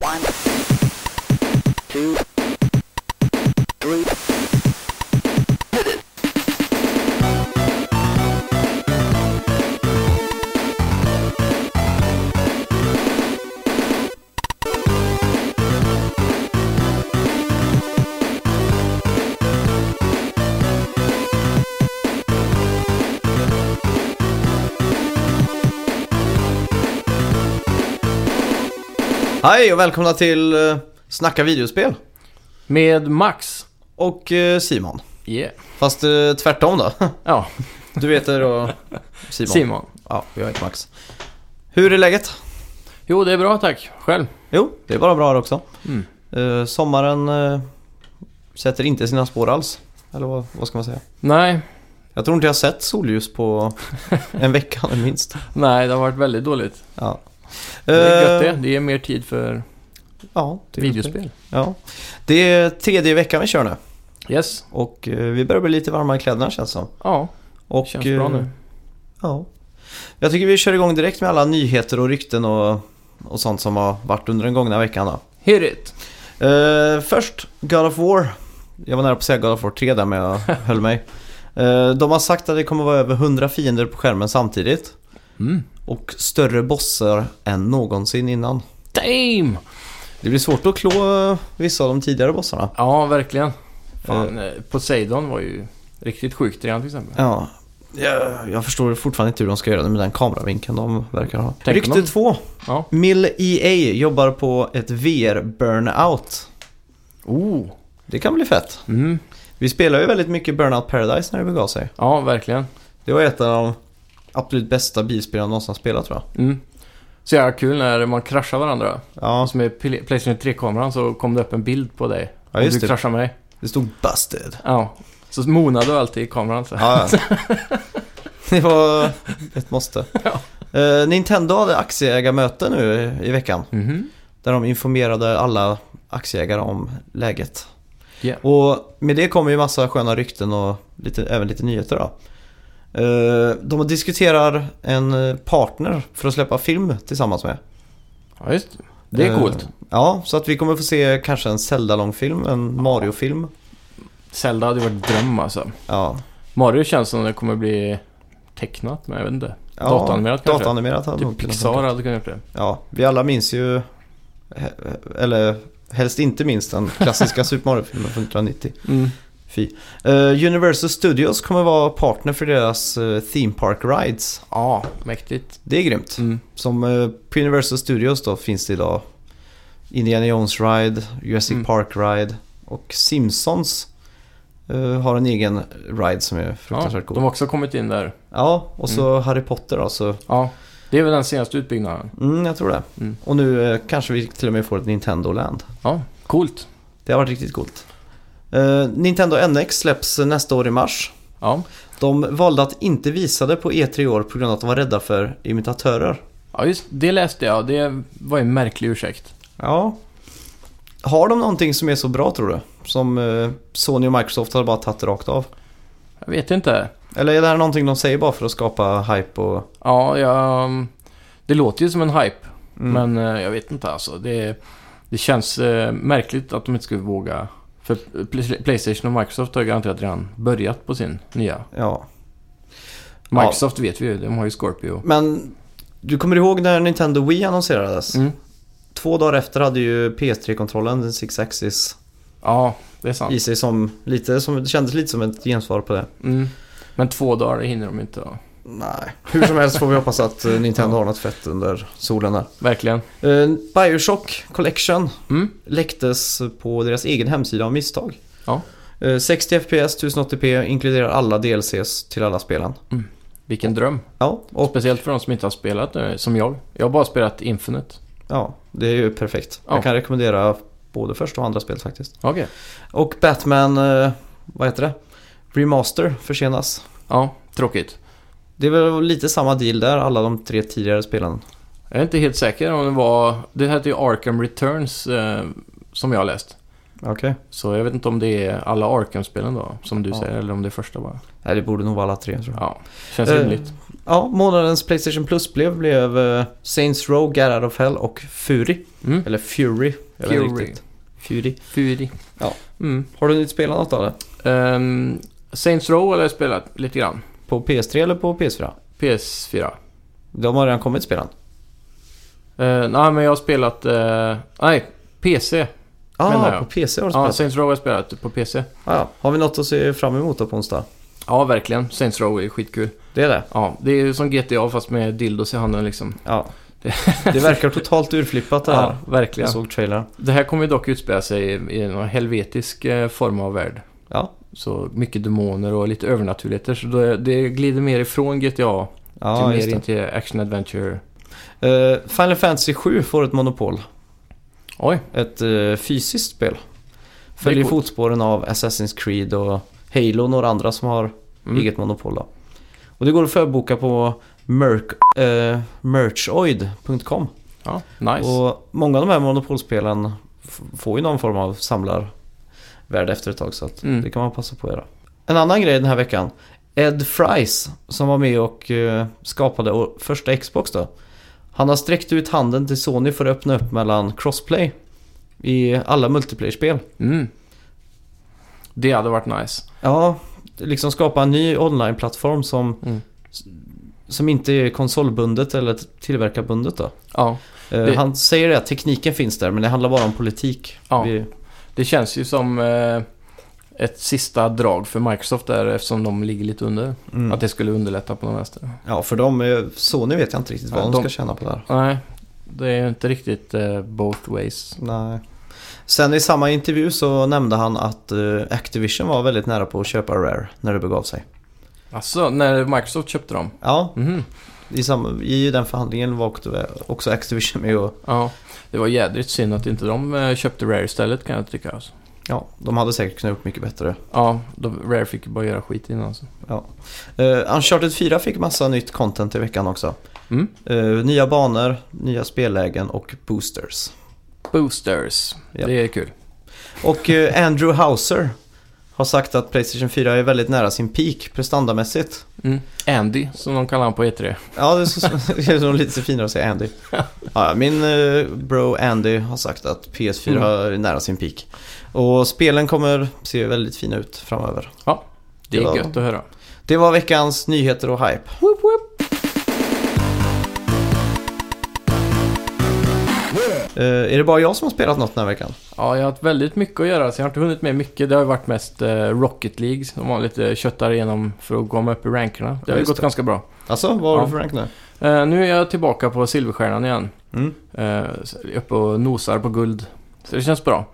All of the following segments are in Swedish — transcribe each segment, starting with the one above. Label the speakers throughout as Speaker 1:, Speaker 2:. Speaker 1: One, two, three.
Speaker 2: Hej och välkomna till eh, Snacka videospel
Speaker 3: Med Max.
Speaker 2: och eh, Simon.
Speaker 3: Yeah.
Speaker 2: Fast eh, tvärtom då.
Speaker 3: Ja,
Speaker 2: Du heter då Simon.
Speaker 3: Simon.
Speaker 2: Ja, jag heter Max. Hur är läget?
Speaker 3: Jo, det är bra tack. Själv?
Speaker 2: Jo, det är bara bra här också.
Speaker 3: Mm.
Speaker 2: Eh, sommaren eh, sätter inte sina spår alls. Eller vad, vad ska man säga?
Speaker 3: Nej,
Speaker 2: Jag tror inte jag har sett solljus på en vecka minst.
Speaker 3: nej, det har varit väldigt dåligt.
Speaker 2: Ja.
Speaker 3: Det är gött
Speaker 2: Eh,
Speaker 3: det. Det ger mer tid för
Speaker 2: Ja, det är okej.
Speaker 3: videospel.
Speaker 2: Ja. Det är tredje veckan vi kör nu.
Speaker 3: Yes.
Speaker 2: Och eh, vi börjar bli lite varma i kläderna känns det som.
Speaker 3: Ja,
Speaker 2: Och,
Speaker 3: känns bra
Speaker 2: eh,
Speaker 3: nu.
Speaker 2: Ja. Jag tycker vi kör igång direkt med alla nyheter och rykten och, och sånt som har varit under den gångna veckan då.
Speaker 3: Hit it.
Speaker 2: Eh, först, God of War. Jag var nära på att säga God of War 3 där men jag höll mig. Eh, de har sagt att det kommer vara över 100 fiender på skärmen samtidigt.
Speaker 3: Mm.
Speaker 2: Och större bossar än någonsin innan.
Speaker 3: Damn!
Speaker 2: Det blir svårt att klå eh, vissa av de tidigare bossarna.
Speaker 3: Ja, verkligen. Fan, eh, Poseidon var ju riktigt sjukt redan till exempel.
Speaker 2: Ja. Jag, jag förstår fortfarande inte hur de ska göra det med den kameravinkeln de verkar ha.
Speaker 3: Tänker
Speaker 2: Rykte
Speaker 3: de-
Speaker 2: 2.
Speaker 3: Ja.
Speaker 2: Mill EA jobbar på ett VR-burnout.
Speaker 3: Oh.
Speaker 2: Det kan bli fett.
Speaker 3: Mm.
Speaker 2: Vi spelar ju väldigt mycket Burnout Paradise när det begav sig.
Speaker 3: Ja, verkligen.
Speaker 2: Det var ett av de absolut bästa bilspelen jag någonsin spelat tror jag.
Speaker 3: Mm. Så jävla kul när man kraschar varandra.
Speaker 2: Ja,
Speaker 3: Alltså med Pl- Playstation 3-kameran så kom det upp en bild på dig.
Speaker 2: Ja,
Speaker 3: Om
Speaker 2: just
Speaker 3: du
Speaker 2: det.
Speaker 3: kraschar med dig.
Speaker 2: det stod Busted.
Speaker 3: Ja. Så monade du alltid i kameran så.
Speaker 2: Ja, ja. det var ett måste.
Speaker 3: Ja.
Speaker 2: Eh, Nintendo hade aktieägarmöte nu i veckan.
Speaker 3: Mhm.
Speaker 2: Där de informerade alla aktieägare om läget.
Speaker 3: Ja.
Speaker 2: Och med det kommer ju massa sköna rykten och lite, även lite nyheter då. Eh, De diskuterar en partner för att släppa film tillsammans med.
Speaker 3: Ja, just det. Det är
Speaker 2: Eh,
Speaker 3: coolt.
Speaker 2: Ja, så att vi kommer få se kanske en Zelda-långfilm, en Mario-film.
Speaker 3: Zelda hade varit dröm alltså.
Speaker 2: Ja.
Speaker 3: Mario känns som det kommer bli tecknat, men jag vet inte.
Speaker 2: ja
Speaker 3: Dataanimerat kanske?
Speaker 2: Dataanimerat hade nog
Speaker 3: Typ
Speaker 2: kunnat
Speaker 3: Pixar
Speaker 2: funka.
Speaker 3: hade kunnat göra det.
Speaker 2: Ja, vi alla minns ju, he- eller helst inte minst den klassiska Super Mario-filmen från 1990.
Speaker 3: Mm.
Speaker 2: Fy. Eh, Universal Studios kommer vara partner för deras eh, Theme Park Rides.
Speaker 3: Ja, mäktigt.
Speaker 2: Det är grymt.
Speaker 3: Mm.
Speaker 2: Som eh, på Universal Studios då finns det idag Indiana Jones Ride, Jurassic
Speaker 3: Mm.
Speaker 2: Park Ride och Simpsons eh, har en egen ride som är
Speaker 3: Ja,
Speaker 2: fruktansvärt
Speaker 3: de
Speaker 2: god.
Speaker 3: har Mm. också kommit in där.
Speaker 2: Ja, och så Harry Potter då. Så,
Speaker 3: Ja, det är väl den senaste utbyggnaden.
Speaker 2: mm, jag tror det.
Speaker 3: Mm.
Speaker 2: Och nu eh, kanske vi till och med får ett Nintendo Land.
Speaker 3: Ja, coolt.
Speaker 2: Det har varit riktigt coolt. Eh, Nintendo NX släpps eh, nästa år i mars.
Speaker 3: Ja,
Speaker 2: De valde att inte visa det på E3 i år på grund av att de var rädda för imitatörer.
Speaker 3: ja just det läste jag. Det var en märklig ursäkt.
Speaker 2: Ja. Har de någonting som är så bra tror du? Som eh, Sony och Microsoft har bara tagit rakt av?
Speaker 3: Jag vet inte.
Speaker 2: Eller är det här någonting de säger bara för att skapa hype och...
Speaker 3: Ja, jag, det låter ju som en hype.
Speaker 2: Mm.
Speaker 3: Men eh, jag vet inte alltså. Det, det känns eh, märkligt att de inte skulle våga. För Play- Playstation och Microsoft har ju garanterat redan börjat på sin nya.
Speaker 2: Ja.
Speaker 3: Microsoft vet vi ju, de har ju Scorpio.
Speaker 2: Men du kommer ihåg när Nintendo Wii annonserades?
Speaker 3: Mm.
Speaker 2: Två dagar efter hade ju PS3-kontrollen, den 6-axis,
Speaker 3: Ja, det är
Speaker 2: i
Speaker 3: sant.
Speaker 2: sig som lite, som, det kändes lite som ett gensvar på det.
Speaker 3: Mm. Men två dagar det hinner de inte. ja.
Speaker 2: Nej. Hur som helst får vi hoppas att eh, Nintendo har något fett under solen där.
Speaker 3: Verkligen.
Speaker 2: Eh, Bioshock Collection
Speaker 3: Mm.
Speaker 2: läcktes på deras egen hemsida av misstag.
Speaker 3: Ja.
Speaker 2: Eh, 60 FPS, 1080p inkluderar alla DLCs till alla spelen.
Speaker 3: Vilken dröm.
Speaker 2: Ja, och
Speaker 3: Speciellt för de som inte har spelat nu, som jag. Jag har bara spelat Infinite.
Speaker 2: ja, det är ju perfekt.
Speaker 3: Ja.
Speaker 2: Jag kan rekommendera både första och andra spelet faktiskt.
Speaker 3: Okej.
Speaker 2: Och Batman, eh, vad heter det? Remaster försenas.
Speaker 3: Ja, tråkigt.
Speaker 2: Det är väl lite samma deal där, alla de tre tidigare spelen.
Speaker 3: Jag är inte helt säker om det var... Det hette ju Arkham Returns eh, som jag har läst.
Speaker 2: Okej.
Speaker 3: Så jag vet inte om det är alla Arkham-spelen då, som du
Speaker 2: Ja.
Speaker 3: säger, eller om det är första bara.
Speaker 2: Nej, det borde nog vara alla tre tror jag.
Speaker 3: Ja, känns
Speaker 2: Eh,
Speaker 3: rimligt.
Speaker 2: Ja, månadens Playstation Plus blev, blev eh, Saints Row, Garad of Hell och Fury.
Speaker 3: Mm.
Speaker 2: Eller Fury. Jag vet inte
Speaker 3: Fury.
Speaker 2: riktigt. Fury.
Speaker 3: Fury.
Speaker 2: Ja.
Speaker 3: Mm.
Speaker 2: Har du nytt spelat något av det?
Speaker 3: Ehm, Saints Row har jag spelat lite grann.
Speaker 2: På PS3 eller på PS4?
Speaker 3: PS4.
Speaker 2: De har redan kommit spelen.
Speaker 3: Eh, nej, men jag har spelat... eh, nej, PC. Menar
Speaker 2: Ah,
Speaker 3: jag.
Speaker 2: på PC har du
Speaker 3: Ja,
Speaker 2: spelat?
Speaker 3: Saints Row har jag spelat på PC.
Speaker 2: Ah, ja. Har vi något att se fram emot då på onsdag?
Speaker 3: Ja, verkligen. Saints Row är skitkul.
Speaker 2: Det är det?
Speaker 3: Ja, det är ju som GTA fast med dildos i handen liksom.
Speaker 2: Ja. Det verkar totalt urflippat det här.
Speaker 3: Ja, verkligen.
Speaker 2: Jag såg trailern.
Speaker 3: Det här kommer ju dock utspela sig i i en helvetisk eh, form av värld.
Speaker 2: Ja.
Speaker 3: Så mycket demoner och lite övernaturligheter. Så det, det glider mer ifrån GTA
Speaker 2: Ja,
Speaker 3: till
Speaker 2: just det.
Speaker 3: mer in till action adventure.
Speaker 2: Eh, Final Fantasy 7 får ett monopol.
Speaker 3: Oj,
Speaker 2: Ett eh, fysiskt spel. Följer
Speaker 3: coolt.
Speaker 2: fotspåren av Assassin's Creed och Halo och några andra som har
Speaker 3: Mm.
Speaker 2: eget monopol då. Och det går att förboka på merc- eh, merchoid.com.
Speaker 3: ja, nice.
Speaker 2: Och många av de här monopolspelen f- får ju någon form av samlarvärde efter ett tag så att
Speaker 3: Mm.
Speaker 2: det kan man passa på att göra. En annan grej den här veckan. Ed Fries som var med och eh, skapade å- första Xbox då. Han har sträckt ut handen till Sony för att öppna upp mellan crossplay i alla multiplayer-spel.
Speaker 3: Mm. Det hade varit nice.
Speaker 2: Ja, liksom skapa en ny online-plattform som,
Speaker 3: Mm.
Speaker 2: som inte är konsolbundet eller t- tillverkarbundet då.
Speaker 3: Ja,
Speaker 2: Eh,
Speaker 3: Det-
Speaker 2: Han säger det att tekniken finns där men det handlar bara om politik.
Speaker 3: Ja.
Speaker 2: Vi-
Speaker 3: det känns ju som eh, ett sista drag för Microsoft där eftersom de ligger lite under.
Speaker 2: Mm.
Speaker 3: Att det skulle underlätta på något vänster.
Speaker 2: Ja, för de är, Sony vet jag inte riktigt vad
Speaker 3: Ja,
Speaker 2: de,
Speaker 3: de-
Speaker 2: ska tjäna på det här.
Speaker 3: Nej, det är ju inte riktigt eh, both ways.
Speaker 2: Nej. Sen i samma intervju så nämnde han att eh, Activision var väldigt nära på att köpa Rare när det begav sig.
Speaker 3: Alltså, när Microsoft köpte dem?
Speaker 2: Ja,
Speaker 3: Mhm.
Speaker 2: i, sam- i den förhandlingen var också- också Activision med och
Speaker 3: Ja, det var jädrigt synd att inte de eh, köpte Rare istället kan jag tycka. Alltså.
Speaker 2: ja, de hade säkert kunnat gjort mycket bättre.
Speaker 3: Ja, de, Rare fick ju bara göra skit innan. Alltså.
Speaker 2: Uh, Uncharted 4 fick massa nytt content i veckan också.
Speaker 3: Mm.
Speaker 2: Eh, nya banor, nya spellägen och boosters.
Speaker 3: Boosters,
Speaker 2: Ja.
Speaker 3: det är kul.
Speaker 2: Och eh, Andrew Hauser har sagt att Playstation 4 är väldigt nära sin peak prestandamässigt.
Speaker 3: Mm. Andy, som de kallar han på E E3.
Speaker 2: Ja, det är, så, det är nog lite finare att säga Andy. Ja, min eh, bro Andy har sagt att PS4
Speaker 3: Mm.
Speaker 2: är nära sin peak. Och spelen kommer se väldigt fina ut framöver.
Speaker 3: Det är
Speaker 2: Ja.
Speaker 3: gött att höra.
Speaker 2: Det var veckans nyheter och hype. Eh, är det bara jag som har spelat något den här veckan?
Speaker 3: Ja, jag har haft väldigt mycket att göra så jag har inte hunnit med mycket. Det har ju varit mest eh, Rocket League som man lite köttar igenom för att komma upp i rankerna. Det har ju
Speaker 2: just
Speaker 3: gått
Speaker 2: det.
Speaker 3: ganska bra.
Speaker 2: Alltså, vad har
Speaker 3: Ja.
Speaker 2: du för rank nu?
Speaker 3: Eh, nu är jag tillbaka på Silverstjärnan igen.
Speaker 2: Mm,
Speaker 3: Eh, uppe och nosar på guld. Så det känns bra.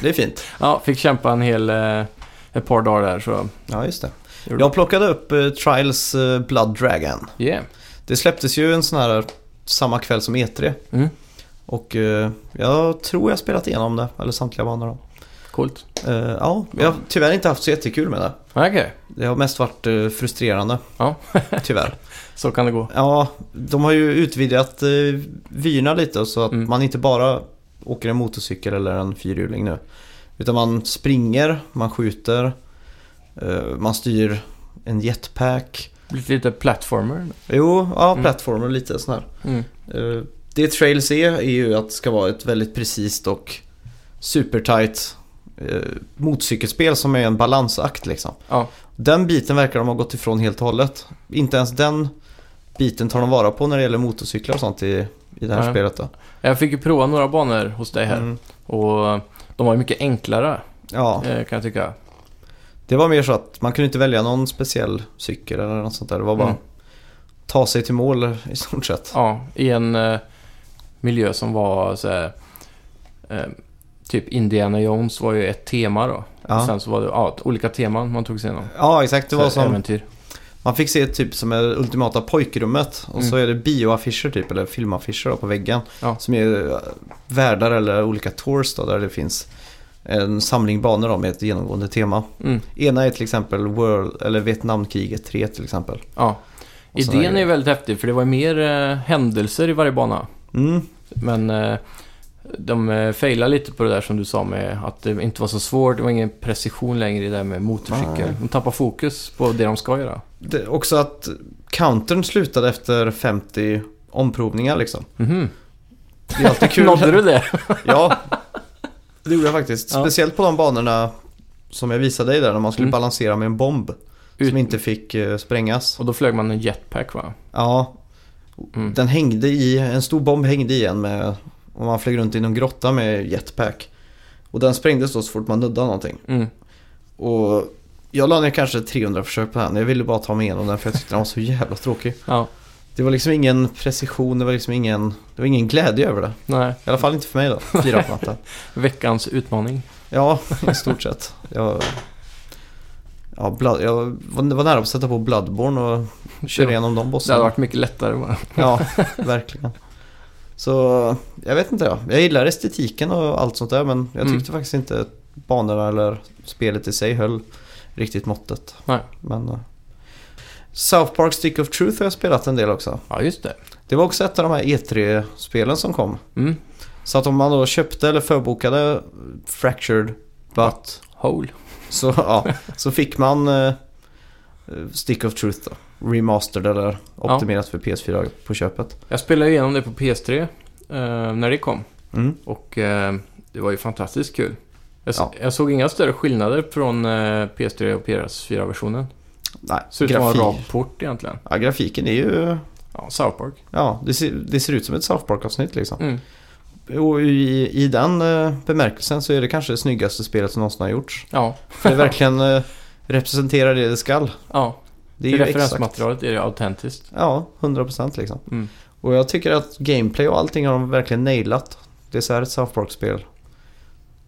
Speaker 2: det är fint.
Speaker 3: Ja, fick kämpa en hel... Eh, ett par dagar där så...
Speaker 2: Ja, just det.
Speaker 3: Gjorde
Speaker 2: Jag plockade upp eh, Trials eh, Blood Dragon.
Speaker 3: Yeah.
Speaker 2: Det släpptes ju en sån här samma kväll som E3.
Speaker 3: Mm.
Speaker 2: Och eh, jag tror jag spelat igenom det, eller samtliga banor då.
Speaker 3: Coolt.
Speaker 2: Eh, ja, jag har tyvärr inte haft så jättekul med det.
Speaker 3: Okej,
Speaker 2: Det har mest varit eh, frustrerande.
Speaker 3: Ja.
Speaker 2: tyvärr.
Speaker 3: så kan det gå.
Speaker 2: Ja, de har ju utvidgat eh, vyerna lite så att
Speaker 3: Mm.
Speaker 2: man inte bara åker en motorcykel eller en fyrhjuling nu. Utan man springer, man skjuter, eh, man styr en jetpack.
Speaker 3: Lite, lite platformer.
Speaker 2: Jo, ja,
Speaker 3: Mm.
Speaker 2: plattformar lite sån här.
Speaker 3: Mm.
Speaker 2: Eh, Det Trails är, är ju att det ska vara ett väldigt precis och supertight eh, motcykelspel som är en balansakt liksom.
Speaker 3: Ja.
Speaker 2: Den biten verkar de ha gått ifrån helt och hållet. Inte ens den biten tar de vara på när det gäller motorcyklar och sånt i, i det här
Speaker 3: Nej.
Speaker 2: spelet då.
Speaker 3: Jag fick ju prova några banor hos dig här.
Speaker 2: Mm.
Speaker 3: Och de var ju mycket enklare
Speaker 2: Ja,
Speaker 3: eh, kan jag tycka.
Speaker 2: det var mer så att man kunde inte välja någon speciell cykel eller något sånt där. Det var bara
Speaker 3: Mm.
Speaker 2: ta sig till mål i stort sett.
Speaker 3: Ja, i en eh, miljö som var så här, eh, Typ Indiana Jones var ju ett tema då. Och
Speaker 2: Ja,
Speaker 3: Sen så var det ja, olika teman man tog sig igenom.
Speaker 2: ja exakt. Det var
Speaker 3: Så här
Speaker 2: som
Speaker 3: Äventyr.
Speaker 2: Man fick se typ som det ultimata pojkrummet och så är det bioaffischer typ, eller filmaffischer då, på väggen.
Speaker 3: Mm. Ja.
Speaker 2: Som är eh, världar eller olika tours då, där det finns en samling banor då, med ett genomgående tema.
Speaker 3: Mm,
Speaker 2: Ena är till exempel World, eller Vietnamkriget 3 till exempel.
Speaker 3: ja.
Speaker 2: Och sådana
Speaker 3: Idén är
Speaker 2: grejer.
Speaker 3: ju väldigt häftig för det var ju mer eh, händelser i varje bana.
Speaker 2: Mm.
Speaker 3: Men eh, De eh, failar lite på det där som du sa med att det inte var så svårt. Det var ingen precision längre i det där med motorcykel.
Speaker 2: Nej.
Speaker 3: De tappar fokus på det de ska göra.
Speaker 2: Det, också att countern slutade efter 50 omprovningar liksom.
Speaker 3: Mhm.
Speaker 2: Det är alltid kul.
Speaker 3: Nådde du det?
Speaker 2: Ja, det gjorde jag faktiskt.
Speaker 3: Ja.
Speaker 2: Speciellt på de banorna som jag visade dig där när man skulle
Speaker 3: Mm.
Speaker 2: balansera med en bomb.
Speaker 3: Ut-
Speaker 2: Som inte fick eh, sprängas.
Speaker 3: Och då flög man en jetpack va?
Speaker 2: Ja,
Speaker 3: Mm.
Speaker 2: den hängde i, en stor bomb hängde i en med, och man flög runt i någon grotta med jetpack. Och den sprängdes då så fort man nuddade någonting.
Speaker 3: Mm.
Speaker 2: Och jag la ner kanske 300 försök på den. Jag ville bara ta mig igenom den för jag tyckte den var så jävla tråkig.
Speaker 3: Ja,
Speaker 2: Det var liksom ingen precision, det var liksom ingen, det var ingen glädje över det.
Speaker 3: nej.
Speaker 2: I alla fall inte för mig då, piratmatta.
Speaker 3: Veckans utmaning.
Speaker 2: Ja, i stort sett. Jag, ja, blood, jag var var nära på att sätta på Bloodborne och köra igenom de
Speaker 3: Det hade
Speaker 2: bossarna.
Speaker 3: varit mycket lättare bara.
Speaker 2: Ja, verkligen. Så jag vet inte. Ja. Jag gillar estetiken och allt sånt där men jag
Speaker 3: Mm.
Speaker 2: tyckte faktiskt inte att banorna eller spelet i sig höll riktigt måttet.
Speaker 3: Nej.
Speaker 2: Men, eh, South Park Stick of Truth har jag spelat en del också.
Speaker 3: Ja, just det.
Speaker 2: Det var också ett av de här E3-spelen som kom.
Speaker 3: Mm.
Speaker 2: Så att om man då köpte eller förbokade Fractured But
Speaker 3: Hole.
Speaker 2: så, ja, så fick man eh, Stick of Truth då. Remastered eller
Speaker 3: Ja.
Speaker 2: optimerat för PS4 på köpet.
Speaker 3: Jag spelade igenom det på PS3 eh, när det kom.
Speaker 2: Mm.
Speaker 3: Och eh, det var ju fantastiskt kul. Jag, s-
Speaker 2: Ja.
Speaker 3: jag såg inga större skillnader från eh, PS3 och PS4-versionen.
Speaker 2: Nej,
Speaker 3: Ser ut som en rak port egentligen.
Speaker 2: Ja, grafiken är ju...
Speaker 3: Ja, South Park.
Speaker 2: Ja, det ser, det ser ut som ett South Park-avsnitt liksom.
Speaker 3: Mm.
Speaker 2: Och i, i den eh, bemärkelsen så är det kanske det snyggaste spelet som någonsin har gjorts.
Speaker 3: Ja,
Speaker 2: För det verkligen eh, representerar det det skall.
Speaker 3: ja.
Speaker 2: Det
Speaker 3: Det
Speaker 2: är ju exakt...
Speaker 3: referensmaterialet är det autentiskt.
Speaker 2: Ja, 100% liksom.
Speaker 3: Mm.
Speaker 2: Och jag tycker att gameplay och allting har de verkligen nailat. Det är så här ett South Park-spel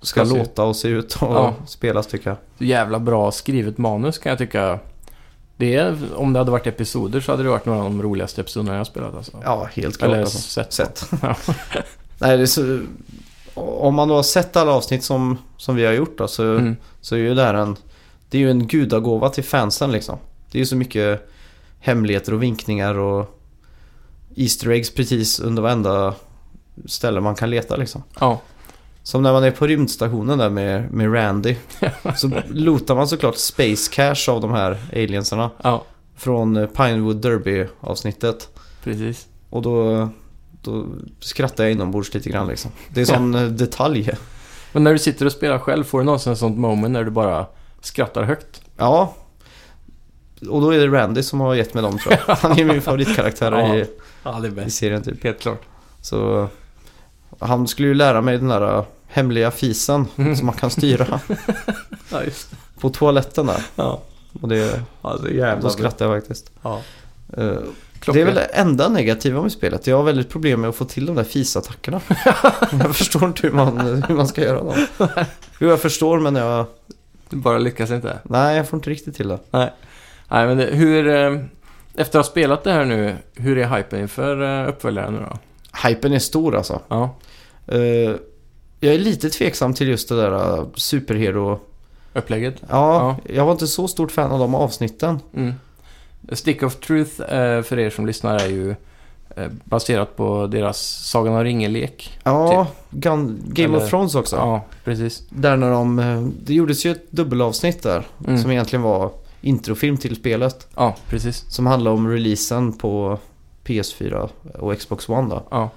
Speaker 2: ska
Speaker 3: Ska se
Speaker 2: låta och se ut och
Speaker 3: Ja.
Speaker 2: spelas tycker jag.
Speaker 3: Så jävla bra skrivet manus kan jag tycka. Det är, om det hade varit episoder så hade det varit några av de roligaste episoderna jag har spelat alltså.
Speaker 2: Ja, helt klart.
Speaker 3: Eller
Speaker 2: alltså.
Speaker 3: sett.
Speaker 2: Sett.
Speaker 3: Ja.
Speaker 2: Nej, det är så, om man då har sett alla avsnitt som, som vi har gjort då, så,
Speaker 3: Mm.
Speaker 2: så är ju det här en, det är ju en gudagåva till fansen liksom. Det är ju så mycket hemligheter och vinkningar och Easter eggs precis under varenda ställe man kan leta liksom.
Speaker 3: Ja.
Speaker 2: Som när man är på rymdstationen där med, med Randy. Så lotar man såklart Space Cash av de här aliensarna.
Speaker 3: ja,
Speaker 2: Från eh, Pinewood Derby avsnittet.
Speaker 3: precis.
Speaker 2: Och då, då skrattar jag inombords lite grann liksom. Det är sån eh, detalj.
Speaker 3: Men när du sitter och spelar själv, får du någonsin ett sånt moment när du bara skrattar högt?
Speaker 2: Ja. Och då är det Randy som har gett mig dem tror jag. Han är min favoritkaraktär i,
Speaker 3: Ja, det är
Speaker 2: i serien typ.
Speaker 3: Helt klart.
Speaker 2: Så han skulle ju lära mig den där eh, hemliga fisen
Speaker 3: Mm.
Speaker 2: som man kan styra
Speaker 3: Ja, just det.
Speaker 2: på toaletten där.
Speaker 3: Ja.
Speaker 2: Och det,
Speaker 3: Ja, det är
Speaker 2: då skrattar jag faktiskt.
Speaker 3: Ja.
Speaker 2: Eh, Det är
Speaker 3: Klockrent.
Speaker 2: väl det enda negativa med spelet. Jag har väldigt problem med att få till de där fisattackerna. jag förstår inte hur man, hur man ska göra dem. Jo, jag förstår men jag...
Speaker 3: Du bara lyckas inte.
Speaker 2: Nej, jag får inte riktigt till det.
Speaker 3: Nej, men det, hur... eh, Efter att ha spelat det här nu, hur är hypen inför eh, uppföljaren nu då?
Speaker 2: Hypen är stor alltså.
Speaker 3: Ja.
Speaker 2: Eh, jag är lite tveksam till just det där eh, superhero...
Speaker 3: Upplägget?
Speaker 2: Ja, jag var inte så stort fan av de avsnitten.
Speaker 3: Mm. Stick of Truth, eh, för er som lyssnar, är ju eh, baserat på deras Sagan om ringen-lek.
Speaker 2: Ja, Gun, Game
Speaker 3: Typ. Eller-
Speaker 2: of Thrones också.
Speaker 3: Ja, precis.
Speaker 2: Där när de... eh, Det gjordes ju ett dubbelavsnitt där.
Speaker 3: Mm.
Speaker 2: Som egentligen var introfilm till spelet.
Speaker 3: Ja, precis.
Speaker 2: Som handlar om releasen på PS4 och Xbox One då.
Speaker 3: Ja,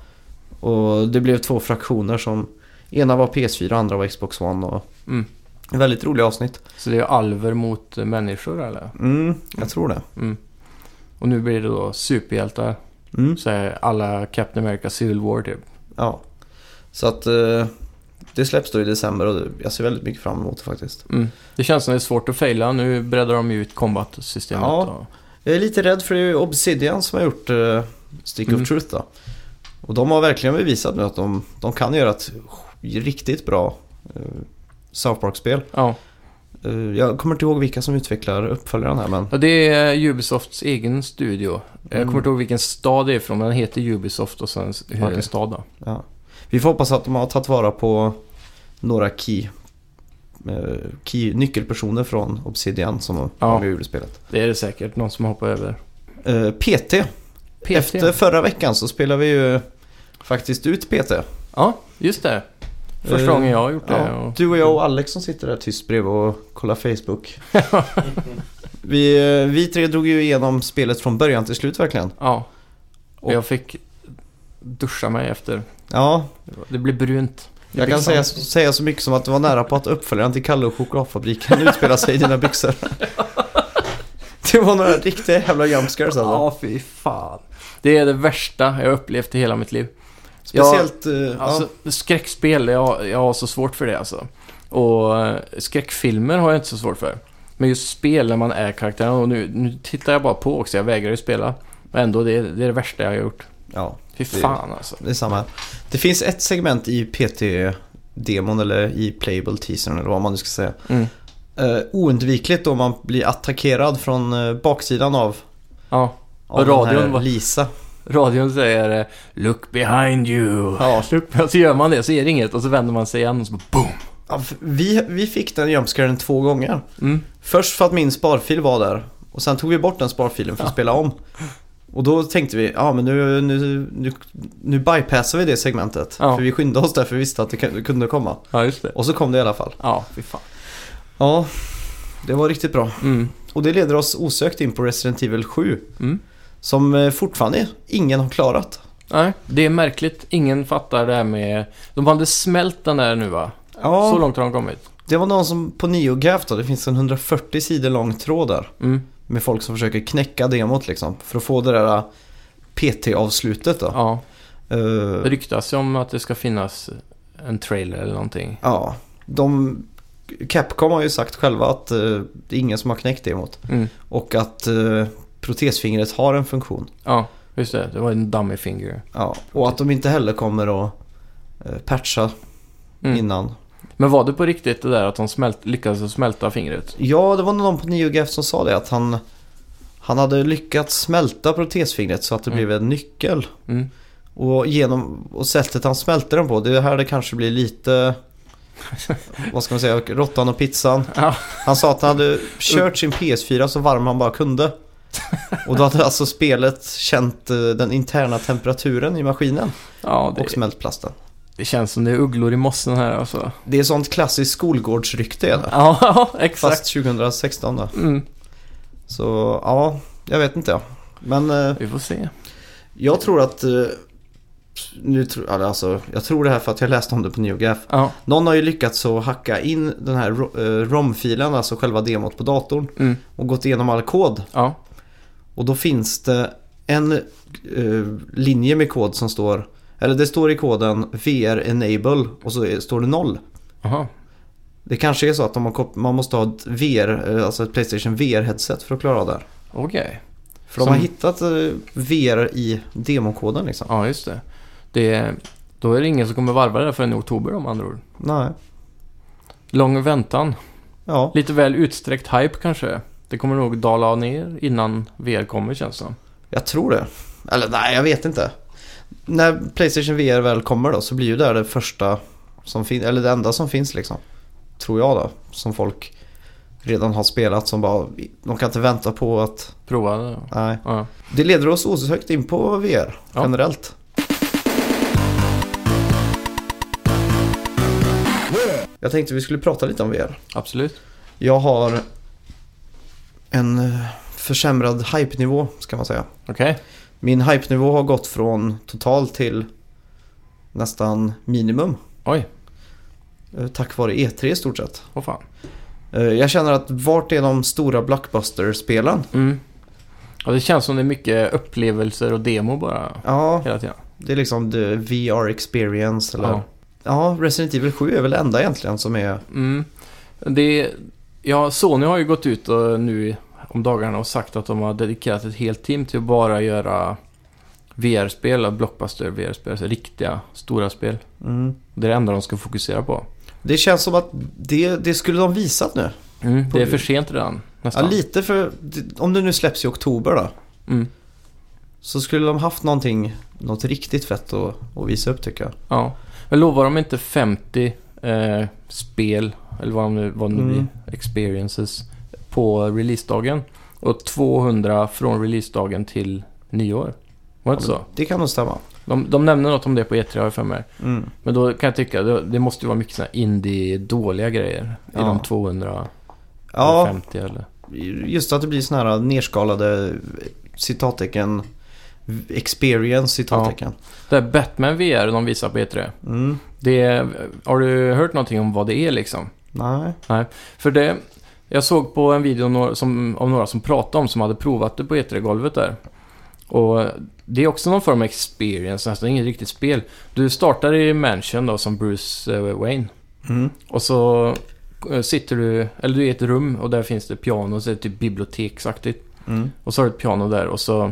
Speaker 2: Och det blev två fraktioner som ena var PS4 andra var Xbox One och
Speaker 3: Mm.
Speaker 2: väldigt roliga avsnitt.
Speaker 3: så det är alver mot eh, människor eller?
Speaker 2: Mm, jag tror det.
Speaker 3: Mm. Och nu blir det då superhjältar.
Speaker 2: Mm,
Speaker 3: Så här, alla Captain America Civil War typ.
Speaker 2: ja. Så att eh, det släpps då i december och det- jag ser väldigt mycket fram emot det faktiskt.
Speaker 3: Mm. Det känns som det är svårt att faila. Nu breddar de ju ut combat-systemet.
Speaker 2: Ja.
Speaker 3: och-
Speaker 2: Jag är lite rädd för det är ju Obsidian som har gjort eh, Stick
Speaker 3: Mm.
Speaker 2: of Truth då. Och de har verkligen bevisat nu att de, de kan göra ett riktigt bra eh, South Park-spel.
Speaker 3: ja.
Speaker 2: Eh, Jag kommer inte ihåg vilka som utvecklar uppföljaren här men
Speaker 3: Ja, det är Ubisofts egen studio. Jag
Speaker 2: Mm.
Speaker 3: kommer inte ihåg vilken stad det är från, men den heter Ubisoft och sen hur
Speaker 2: Okej.
Speaker 3: en stad då.
Speaker 2: ja. Vi får hoppas att de har tagit vara på några key, eh, key nyckelpersoner från Obsidian som har
Speaker 3: Ja.
Speaker 2: var med i julspelet.
Speaker 3: Det är det säkert någon som hoppar över.
Speaker 2: Eh, PT.
Speaker 3: PT.
Speaker 2: Efter förra veckan så spelade vi ju faktiskt ut PT.
Speaker 3: Ja, just det. Första
Speaker 2: Eh,
Speaker 3: gången jag har gjort det.
Speaker 2: Ja,
Speaker 3: Och...
Speaker 2: Du och jag och Alex som sitter där tyst bredvid och kollar Facebook. vi, eh, vi tre drog ju igenom spelet från början till slut verkligen.
Speaker 3: Ja. Och
Speaker 2: Och-
Speaker 3: jag fick duscha mig efter.
Speaker 2: Ja,
Speaker 3: Det blev brunt. Liksom.
Speaker 2: jag kan säga, säga så mycket som att det var nära på att uppföljaren till Kalle och chokladfabriken utspelar sig i dina byxor. det var några riktiga jävla jumpscares alltså.
Speaker 3: Ja, fy fan. Det är det värsta jag upplevt i hela mitt liv.
Speaker 2: Speciellt... eh, Ja,
Speaker 3: Alltså, skräckspel, jag, jag har så svårt för det alltså. Och eh, skräckfilmer har jag inte så svårt för. Men just spel när man är karaktären, och nu, nu tittar jag bara på också, jag vägrar ju spela. Men ändå, det är det, är det värsta jag har gjort.
Speaker 2: ja,
Speaker 3: Fy
Speaker 2: Det-
Speaker 3: fan alltså.
Speaker 2: det är samma. Det finns ett segment i PT-demon eller i playable teasern eller vad man nu ska säga.
Speaker 3: Mm.
Speaker 2: Eh, oundvikligt då man blir attackerad från eh, baksidan av
Speaker 3: Ja,
Speaker 2: Av
Speaker 3: Och
Speaker 2: den här
Speaker 3: radion var-
Speaker 2: Lisa.
Speaker 3: radion säger eh, “Look behind you”.
Speaker 2: Ja.
Speaker 3: Och så gör man det, så är det inget och så vänder man sig igen och så bara boom.
Speaker 2: Ja, för Vi, vi fick den jumpscaren två gånger.
Speaker 3: Mm.
Speaker 2: Först för att min sparfil var där. Och sen tog vi bort den sparfilen för att spela om. Och då tänkte vi, ja men nu, nu, nu, nu bypassar vi det segmentet.
Speaker 3: Ja.
Speaker 2: För vi skyndade oss där för vi visste att det kun- kunde komma.
Speaker 3: Ja, just det.
Speaker 2: Och så kom det i alla fall.
Speaker 3: Ja, fy fan.
Speaker 2: Ja, det var riktigt bra.
Speaker 3: Mm.
Speaker 2: Och det leder oss osökt in på Resident Evil 7.
Speaker 3: Mm.
Speaker 2: Som eh, fortfarande ingen har klarat.
Speaker 3: Nej, det är märkligt. Ingen fattar det här med... De hade smält den där nu va?
Speaker 2: Ja,
Speaker 3: Så långt har de kommit.
Speaker 2: det var någon som på NeoGaf då, det finns en 140 sidor lång tråd där.
Speaker 3: Mm.
Speaker 2: Med folk som försöker knäcka demot liksom. För att få det där PT-avslutet då. Äh, Ja.
Speaker 3: Ja. Det ryktas ju om att det ska finnas en trailer eller någonting.
Speaker 2: ja. De, Capcom har ju sagt själva att eh, det är ingen som har knäckt demot.
Speaker 3: Mm.
Speaker 2: Och att eh, protesfingret har en funktion.
Speaker 3: Ja, just det. Det var en dummy finger.
Speaker 2: Ja. Och att de inte heller kommer att eh, patcha
Speaker 3: Mm.
Speaker 2: innan.
Speaker 3: Men var det på riktigt det där att de smält, lyckades smälta fingret?
Speaker 2: Ja, det var någon på NeoGaf som sa det att han, han hade lyckats smälta protesfingret så att det
Speaker 3: Mm.
Speaker 2: blev en nyckel.
Speaker 3: Mm.
Speaker 2: Och, genom, och sättet han smälter den på, det är här det kanske blir lite... vad ska man säga? Råttan och pizzan.
Speaker 3: Ja.
Speaker 2: Han sa att han hade kört sin PS4 så varm han bara kunde. Och då hade alltså spelet känt eh, den interna temperaturen i maskinen
Speaker 3: Ja,
Speaker 2: och
Speaker 3: det,
Speaker 2: smält plasten.
Speaker 3: det känns som det är ugglor i mossen här alltså.
Speaker 2: Det är sånt klassiskt skolgårdsrykte är det.
Speaker 3: Ja, exakt.
Speaker 2: Fast 2016 då.
Speaker 3: Mm.
Speaker 2: Så ja, jag vet inte. Men eh,
Speaker 3: Vi får se.
Speaker 2: jag tror att... eh, Nu tror, alltså, jag tror det här för att jag läste om det på NeoGaf.
Speaker 3: Ja.
Speaker 2: Någon har ju lyckats så hacka in den här ro- eh, ROM-filen, alltså själva demot på datorn
Speaker 3: Mm.
Speaker 2: och gått igenom all kod.
Speaker 3: Ja.
Speaker 2: Och då finns det en eh, linje med kod som står, eller det står i koden VR enable och så är- står det noll.
Speaker 3: Aha.
Speaker 2: Det kanske är så att om man, kop- man måste ha ett VR, eh, alltså ett Playstation VR-headset för att klara av det här.
Speaker 3: Okej.
Speaker 2: För de
Speaker 3: Som-
Speaker 2: har hittat eh, VR i demokoden liksom.
Speaker 3: Ja, just det. det. Då är det ingen som kommer varva det där förrän i oktober om andra ord.
Speaker 2: Nej.
Speaker 3: Lång väntan.
Speaker 2: Ja.
Speaker 3: Lite väl utsträckt hype kanske. Det kommer nog dala ner innan VR kommer känns det som.
Speaker 2: Jag tror det. Eller nej, jag vet inte. När Playstation VR väl kommer då så blir ju det här det första som finns, eller det enda som finns liksom. Tror jag då. Som folk redan har spelat som bara, de kan inte vänta på att,
Speaker 3: Prova det. då.
Speaker 2: nej.
Speaker 3: Ja.
Speaker 2: Det leder oss osökt in på VR
Speaker 3: Ja.
Speaker 2: generellt. Jag tänkte vi skulle prata lite om VR.
Speaker 3: Absolut.
Speaker 2: Jag har en eh, försämrad hype-nivå ska man säga.
Speaker 3: Okej.
Speaker 2: Min hype-nivå har gått från total till nästan minimum.
Speaker 3: Oj,
Speaker 2: eh, Tack vare E3 i stort sett.
Speaker 3: vad fan.
Speaker 2: Eh, Jag känner att vart är de stora blockbuster-spelen?
Speaker 3: Mm. Ja, det känns som det är mycket upplevelser och demo bara
Speaker 2: Ja,
Speaker 3: hela tiden.
Speaker 2: det är liksom the VR experience eller... Ja.
Speaker 3: Ja.
Speaker 2: Resident Evil 7 är väl det enda egentligen som är...
Speaker 3: Mm. Det, ja, Sony har ju gått ut och nu om dagarna och sagt att de har dedikerat ett helt team till att bara göra VR-spel, blockbuster VR-spel, alltså riktiga stora spel.
Speaker 2: Mm.
Speaker 3: Det är det enda de ska fokusera på.
Speaker 2: Det känns som att det, det skulle de visat nu.
Speaker 3: Mm, det är
Speaker 2: På-
Speaker 3: för sent redan, nästan.
Speaker 2: Ja, lite för... Om det nu släpps i oktober då.
Speaker 3: mm.
Speaker 2: Så skulle de haft någonting, något riktigt fett att, att visa upp tycker jag.
Speaker 3: Ja, men lovar de inte 50 eh, spel, eller vad de nu vad det nu
Speaker 2: Mm.
Speaker 3: blir, experiences, på releasedagen? Och 200 från releasedagen till nyår? Var det inte så?
Speaker 2: Det kan nog stämma.
Speaker 3: De, de nämner något om det på E3 har jag för mig.
Speaker 2: Mm.
Speaker 3: Men då kan jag tycka, det, det måste ju vara mycket sådana indie-dåliga grejer. I
Speaker 2: Ja.
Speaker 3: de 250
Speaker 2: Ja,
Speaker 3: eller...
Speaker 2: just att det blir sådana här nerskalade citattecken experience citattecken.
Speaker 3: Det här Batman VR de visar på E3.
Speaker 2: Mm.
Speaker 3: Det, har du hört någonting om vad det är liksom?
Speaker 2: Nej.
Speaker 3: För det, jag såg på en video några- som, om några som pratade om som hade provat det på E3-golvet där. Och det är också någon form av experience, nästan inget riktigt spel. Du startar i Mansion då som Bruce eh, Wayne.
Speaker 2: Mm.
Speaker 3: Och så eh, sitter du, eller du är i ett rum och där finns det piano, så är det typ biblioteksaktigt.
Speaker 2: Mm.
Speaker 3: Och så har du ett piano där och så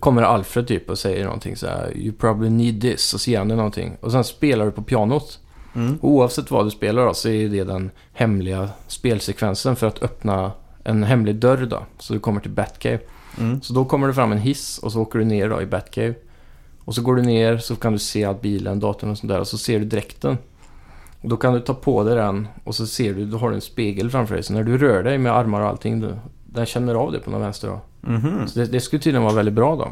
Speaker 3: kommer Alfred typ och säger någonting så här You probably need this och så ger han dig någonting. Och sen spelar du på pianot.
Speaker 2: Mm.
Speaker 3: Oavsett vad du spelar då, så är det den hemliga spelsekvensen för att öppna en hemlig dörr då. Så du kommer till Batcave.
Speaker 2: Mm.
Speaker 3: Så då kommer det fram en hiss och så åker du ner då i Batcave. Och så går du ner så kan du se all bilen, datorn och sånt där. Och så ser du dräkten. Och då kan du ta på dig den och så ser du, då har du en spegel framför dig. Så när du rör dig med armar och allting, du, den känner av det på någon vänster då.
Speaker 2: Mhm.
Speaker 3: Så det, det skulle tydligen vara väldigt bra då.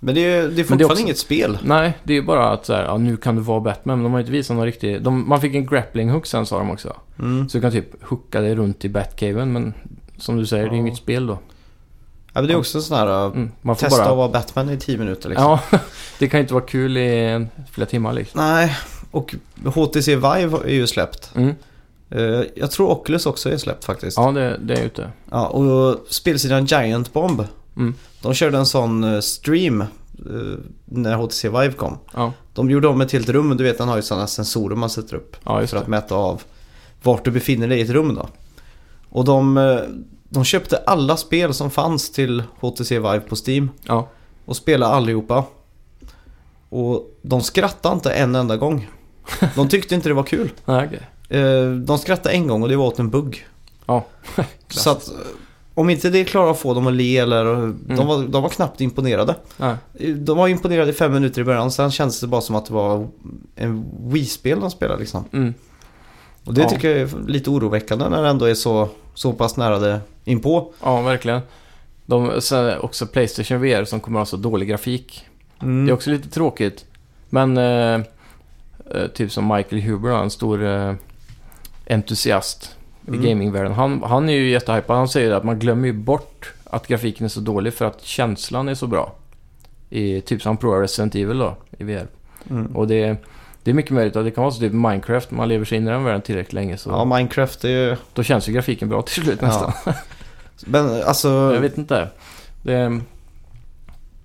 Speaker 2: Men det är, det är fortfarande
Speaker 3: också-
Speaker 2: inget spel.
Speaker 3: Nej, det är ju bara att så här, ja, nu kan du vara Batman. Men de har inte visat någon riktig... De, man fick en grappling hook sen sa de också.
Speaker 2: Mm.
Speaker 3: Så du kan typ hooka dig runt i Batcaven. Men som du säger, det är ju
Speaker 2: Ja.
Speaker 3: inget spel då.
Speaker 2: Ja, men det är också en sån här, uh,
Speaker 3: Mm, man får
Speaker 2: testa
Speaker 3: bara...
Speaker 2: att vara Batman i 10 minuter liksom.
Speaker 3: Ja, det kan ju inte vara kul i en- flera timmar liksom.
Speaker 2: Nej, och HTC Vive är ju släppt.
Speaker 3: Mm.
Speaker 2: Eh, Jag tror Oculus också är släppt faktiskt.
Speaker 3: Ja, det, det är ute.
Speaker 2: Ja, och spelsidan Giant Bomb.
Speaker 3: Mm.
Speaker 2: De körde en sån eh, stream eh, när HTC Vive kom.
Speaker 3: Ja,
Speaker 2: De gjorde om ett helt rum, du vet den har ju sådana sensorer man sätter upp.
Speaker 3: ja just
Speaker 2: för att
Speaker 3: det.
Speaker 2: mäta av vart du befinner dig i ett rum då. Och de, eh, de köpte alla spel som fanns till HTC Vive på Steam
Speaker 3: Ja.
Speaker 2: och spelade allihopa. Och de skrattade inte en enda gång. De tyckte inte det var kul.
Speaker 3: Nej, okej.
Speaker 2: Eh, De skrattade en gång och det var åt en bugg.
Speaker 3: Ja.
Speaker 2: Så att eh, om inte det klarar att få dem att le eller... eh, De,
Speaker 3: Mm.
Speaker 2: var, de var knappt imponerade.
Speaker 3: Nej.
Speaker 2: De var imponerade i fem minuter i början, sen kändes det bara som att det var en Wii-spel de spelade liksom.
Speaker 3: Mm.
Speaker 2: Och det
Speaker 3: Ja.
Speaker 2: tycker jag är lite oroväckande när det ändå är så, så pass nära det inpå.
Speaker 3: Ja, verkligen. De, sen också Playstation VR som kommer ha så dålig grafik.
Speaker 2: Mm.
Speaker 3: Det är också lite tråkigt. Men eh, eh, typ som Michael Huber, då, en stor eh, entusiast
Speaker 2: Mm.
Speaker 3: i gamingvärlden. Han, han är ju jättehypad. Han säger att man glömmer ju bort att grafiken är så dålig för att känslan är så bra. I, typ som han provar Resident Evil då, i VR.
Speaker 2: Mm.
Speaker 3: Och det, det är mycket möjligt att det kan vara så typ Minecraft. Man lever sig in i den världen tillräckligt länge så
Speaker 2: Ja, Minecraft är ju...
Speaker 3: då känns ju grafiken bra till slut nästan.
Speaker 2: Men alltså...
Speaker 3: Jag vet inte. Det är mm,